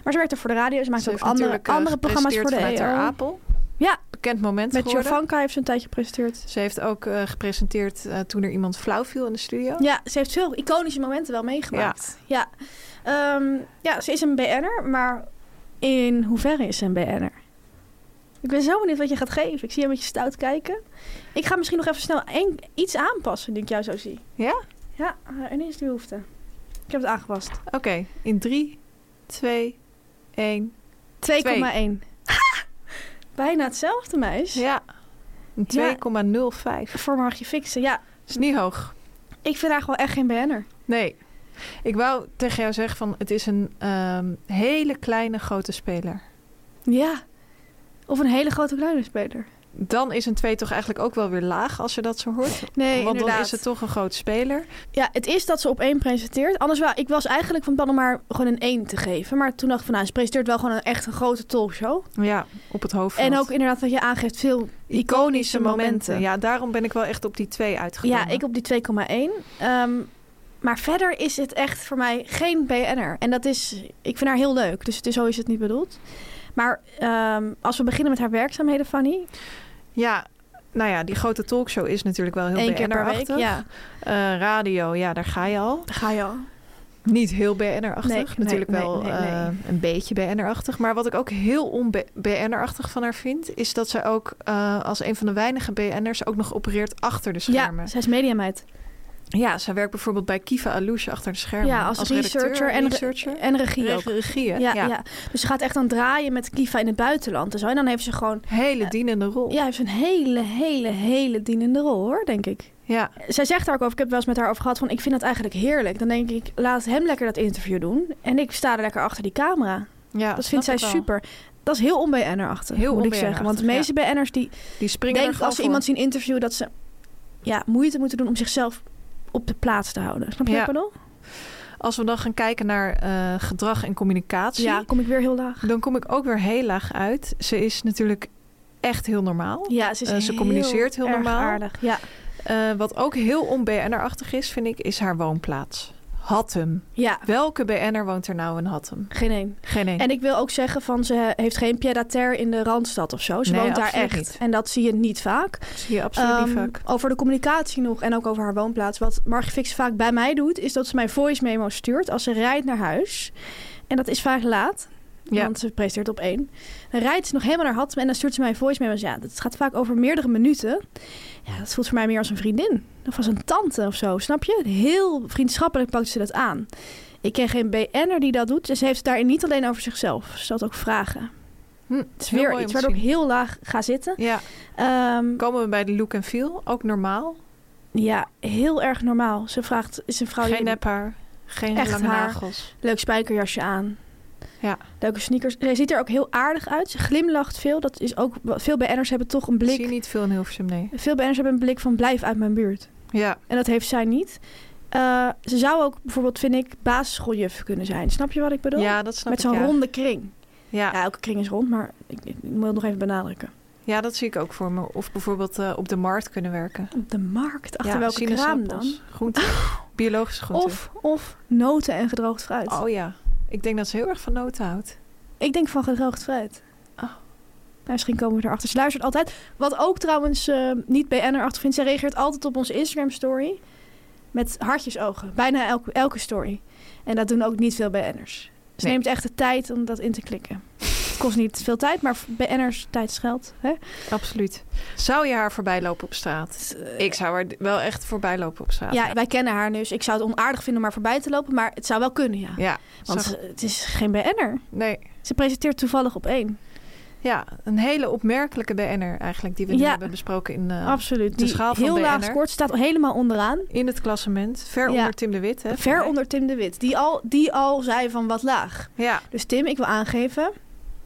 Speaker 2: Maar ze werkt er voor de radio. Ze maakt
Speaker 1: Ze
Speaker 2: ook
Speaker 1: heeft
Speaker 2: andere,
Speaker 1: natuurlijk, eh,
Speaker 2: andere programma's voor de
Speaker 1: gepresenteerd vanuit haar
Speaker 2: EO.
Speaker 1: Apel.
Speaker 2: Ja.
Speaker 1: Bekend moment
Speaker 2: Met
Speaker 1: geworden.
Speaker 2: Jovanka heeft ze een tijdje gepresenteerd.
Speaker 1: Ze heeft ook eh, gepresenteerd eh, toen er iemand flauw viel in de studio.
Speaker 2: Ja, ze heeft veel iconische momenten wel meegemaakt. Ja, ja. Ehm, ja ze is een BN'er, maar in hoeverre is ze een BN'er? Ik ben zo benieuwd wat je gaat geven. Ik zie je een beetje stout kijken. Ik ga misschien nog even snel één- iets aanpassen, die ik jou zo zie.
Speaker 1: Ja?
Speaker 2: Ja, eh, ineens die behoefte. Ik heb het aangepast. 2,1.
Speaker 1: Oké, in 3, 2, 1.
Speaker 2: Ha! Bijna hetzelfde, meis.
Speaker 1: Ja, een 2,05.
Speaker 2: Voor mag je fixen. Ja,
Speaker 1: Is niet hoog.
Speaker 2: ik vind haar gewoon echt geen BN'er.
Speaker 1: Nee. Ik wou tegen jou zeggen van het is een ehm, hele kleine grote speler.
Speaker 2: Ja. Of een hele grote kleine speler.
Speaker 1: Dan is een 2 toch eigenlijk ook wel weer laag als je dat zo hoort.
Speaker 2: Nee,
Speaker 1: Want dan is het toch een groot speler.
Speaker 2: Ja, het is dat ze op één presenteert. Anders wel, ik was eigenlijk van plan om haar gewoon een één te geven. Maar toen dacht ik van, nou, ze presenteert wel gewoon een echt een grote talkshow.
Speaker 1: Ja, op het hoofd.
Speaker 2: En ook inderdaad wat je aangeeft, veel iconische momenten.
Speaker 1: Ja, daarom ben ik wel echt op die 2 uitgekomen.
Speaker 2: Ja, ik op die 2,1. Ehm, Maar verder is het echt voor mij geen BN'er. En dat is, ik vind haar heel leuk, dus het is, zo is het niet bedoeld. Maar ehm, als we beginnen met haar werkzaamheden, Fanny.
Speaker 1: Ja, nou ja, die grote talkshow is natuurlijk wel heel
Speaker 2: één keer per week.
Speaker 1: BN'er-achtig.
Speaker 2: Ja,
Speaker 1: Eh, radio, ja, daar ga je al.
Speaker 2: daar ga je al.
Speaker 1: Niet heel BN'er-achtig.
Speaker 2: Nee,
Speaker 1: Natuurlijk
Speaker 2: nee,
Speaker 1: wel
Speaker 2: nee, nee, nee.
Speaker 1: eh, een beetje BN'er-achtig. Maar wat ik ook heel on-BN'er-achtig van haar vind... is dat zij ook eh, als een van de weinige BN'ers... ook nog opereert achter de
Speaker 2: Ja,
Speaker 1: schermen.
Speaker 2: zij is mediameid.
Speaker 1: Ja, zij werkt bijvoorbeeld bij Kiva Alouche achter de schermen.
Speaker 2: Ja, als,
Speaker 1: redacteur
Speaker 2: researcher en, re-
Speaker 1: researcher.
Speaker 2: en regie ook.
Speaker 1: Reg- Regieën,
Speaker 2: Ja,
Speaker 1: ja.
Speaker 2: ja. Dus ze gaat echt dan draaien met Kiva in het buitenland en zo. En dan heeft ze gewoon...
Speaker 1: Hele dienende rol.
Speaker 2: Ja, heeft een hele, hele, hele dienende rol hoor, denk ik.
Speaker 1: ja.
Speaker 2: Zij zegt daar ook over, ik heb wel eens met haar over gehad, van ik vind dat eigenlijk heerlijk. Dan denk ik, laat hem lekker dat interview doen. En ik sta er lekker achter die camera.
Speaker 1: Ja,
Speaker 2: dat vindt zij
Speaker 1: snap ik wel.
Speaker 2: super. Dat is heel on-BN'er achter,
Speaker 1: Heel
Speaker 2: moet ik
Speaker 1: on-BN'er
Speaker 2: zeggen. Want de
Speaker 1: achtig,
Speaker 2: meeste BN'ers die
Speaker 1: Die springen er
Speaker 2: denken
Speaker 1: gewoon
Speaker 2: als ze
Speaker 1: voor.
Speaker 2: iemand zien interviewen dat ze ja, moeite moeten doen om zichzelf op de plaats te houden. Snap je
Speaker 1: Ja.
Speaker 2: wat ik bedoel?
Speaker 1: Als we dan gaan kijken naar eh, gedrag en communicatie...
Speaker 2: Ja, kom ik weer heel laag.
Speaker 1: dan kom ik ook weer heel laag uit. Ze is natuurlijk echt heel normaal.
Speaker 2: Ja, ze, is
Speaker 1: Eh, ze communiceert heel
Speaker 2: erg
Speaker 1: normaal.
Speaker 2: aardig. Ja,
Speaker 1: Eh, wat ook heel on-BN'er-achtig is, vind ik, is haar woonplaats. Hattem.
Speaker 2: ja
Speaker 1: Welke BN'er woont er nou in Hattem?
Speaker 2: geen één.
Speaker 1: Geen één.
Speaker 2: En ik wil ook zeggen van ze heeft geen pied à terre in de Randstad of zo. Ze
Speaker 1: Nee,
Speaker 2: woont daar
Speaker 1: absoluut
Speaker 2: echt.
Speaker 1: niet.
Speaker 2: En dat zie je niet vaak.
Speaker 1: zie je absoluut niet
Speaker 2: Ehm,
Speaker 1: vaak.
Speaker 2: Over de communicatie nog en ook over haar woonplaats. Wat Margie Fix vaak bij mij doet, is dat ze mijn voice memo stuurt als ze rijdt naar huis. En dat is vaak laat,
Speaker 1: Ja.
Speaker 2: want ze presenteert op één. Dan rijdt ze nog helemaal naar Hattem en dan stuurt ze mij voice memo's. Ja, dat gaat vaak over meerdere minuten. Ja, dat voelt voor mij meer als een vriendin. Of als een tante of zo, snap je? Heel vriendschappelijk pakt ze dat aan. Ik ken geen BN'er die dat doet. Dus ze heeft het daarin niet alleen over zichzelf. Ze stelt ook vragen.
Speaker 1: Hm,
Speaker 2: Het is
Speaker 1: heel
Speaker 2: weer
Speaker 1: mooi
Speaker 2: iets
Speaker 1: om te
Speaker 2: waardoor ik
Speaker 1: zien.
Speaker 2: heel laag ga zitten.
Speaker 1: Ja,
Speaker 2: Ehm,
Speaker 1: komen we bij de look en feel. Ook normaal.
Speaker 2: Oh, Ja, heel erg normaal. Ze vraagt, is een vrouw
Speaker 1: Geen
Speaker 2: die
Speaker 1: nephaar. Geen
Speaker 2: Echt
Speaker 1: lange
Speaker 2: haar.
Speaker 1: nagels.
Speaker 2: leuk spijkerjasje aan.
Speaker 1: Ja.
Speaker 2: Leuke sneakers. Zij ziet er ook heel aardig uit. Ze glimlacht veel. Dat is ook, wat- veel BN'ers hebben toch een
Speaker 1: Zie je
Speaker 2: blik.
Speaker 1: niet veel in Hilversum, nee.
Speaker 2: Veel BN'ers hebben een blik van blijf uit mijn buurt.
Speaker 1: Ja,
Speaker 2: En dat heeft zij niet. Eh, ze zou ook bijvoorbeeld, vind ik, basisschooljuf kunnen zijn. Snap je wat ik bedoel?
Speaker 1: ja dat snap
Speaker 2: Met
Speaker 1: ik.
Speaker 2: zo'n
Speaker 1: ja.
Speaker 2: ronde kring.
Speaker 1: Ja.
Speaker 2: Ja, elke kring is rond, maar ik, ik moet het nog even benadrukken.
Speaker 1: ja, dat zie ik ook voor me. Of bijvoorbeeld eh, op de markt kunnen werken.
Speaker 2: Op de markt, achter
Speaker 1: ja,
Speaker 2: welke kraam
Speaker 1: sinaasappels,
Speaker 2: dan?
Speaker 1: Groenten.
Speaker 2: [LAUGHS]
Speaker 1: Biologische groenten.
Speaker 2: Of, of noten en gedroogd fruit.
Speaker 1: Oh ja. Ik denk dat ze heel erg van noten houdt.
Speaker 2: Ik denk van gedroogd fruit.
Speaker 1: Oh.
Speaker 2: Nou, misschien komen we erachter. Ze luistert altijd. Wat ook trouwens eh, niet BN'er achter vindt. Ze reageert altijd op onze Instagram story. Met hartjesogen. Bijna elke, elke story. En dat doen ook niet veel BN'ers. Ze
Speaker 1: Nee.
Speaker 2: neemt echt de tijd om dat in te klikken. Het kost niet veel tijd, maar voor BN'ers tijd is geld. Hè?
Speaker 1: Absoluut. Zou je haar voorbij lopen op straat?
Speaker 2: Dus, eh,
Speaker 1: Ik zou haar d- wel echt voorbij lopen op straat.
Speaker 2: ja, wij kennen haar dus. Ik zou het onaardig vinden om haar voorbij te lopen. Maar het zou wel kunnen, ja.
Speaker 1: Ja,
Speaker 2: Want
Speaker 1: zag-
Speaker 2: eh, het is geen BN'er.
Speaker 1: nee.
Speaker 2: Ze presenteert toevallig op één.
Speaker 1: Ja, een hele opmerkelijke BN'er eigenlijk die we nu
Speaker 2: Ja.
Speaker 1: hebben besproken in, eh,
Speaker 2: Absoluut.
Speaker 1: de
Speaker 2: Die
Speaker 1: schaal van
Speaker 2: heel laag
Speaker 1: BN'er.
Speaker 2: scoort. Staat helemaal onderaan.
Speaker 1: in het klassement. Ver
Speaker 2: Ja.
Speaker 1: onder Tim de Wit. Hè,
Speaker 2: Ver onder Tim de Wit. Die al, die al zei van wat laag.
Speaker 1: Ja,
Speaker 2: Dus Tim, ik wil aangeven.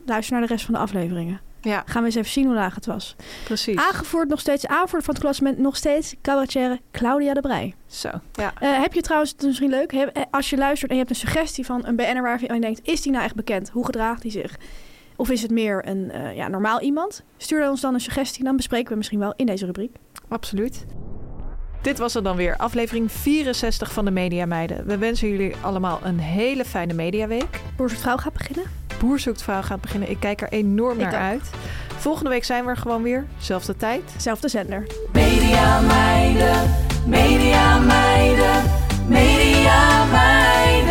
Speaker 2: Luister naar de rest van de afleveringen.
Speaker 1: ja,
Speaker 2: Gaan we eens even zien hoe laag het was.
Speaker 1: precies.
Speaker 2: Aangevoerd nog steeds, aanvoerder van het klassement nog steeds, cabaretière Claudia de Brij.
Speaker 1: Zo, ja.
Speaker 2: Eh, heb je trouwens, het is misschien leuk, heb- eh, als je luistert en je hebt een suggestie van een BN'er waarvan je denkt, is die nou echt bekend? Hoe gedraagt hij zich? Of is het meer een eh, ja, normaal iemand? Stuur ons dan een suggestie, dan bespreken we hem misschien wel in deze rubriek.
Speaker 1: Absoluut. Dit was het dan weer, aflevering 64 van de Media Meiden. We wensen jullie allemaal een hele fijne mediaweek.
Speaker 2: Boers het vrouw gaat beginnen.
Speaker 1: Boer zoekt vrouw gaat beginnen. Ik kijk er enorm
Speaker 2: Ik
Speaker 1: naar
Speaker 2: ook.
Speaker 1: uit. Volgende week zijn we er gewoon weer. Zelfde tijd.
Speaker 2: Zelfde zender.
Speaker 3: Media meiden, media meiden, media meiden.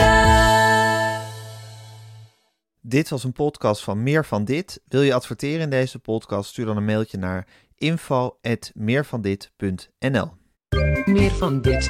Speaker 4: Dit was een podcast van Meer van Dit. Wil je adverteren in deze podcast? Stuur dan een mailtje naar info.meervandit.nl
Speaker 5: Meer van dit.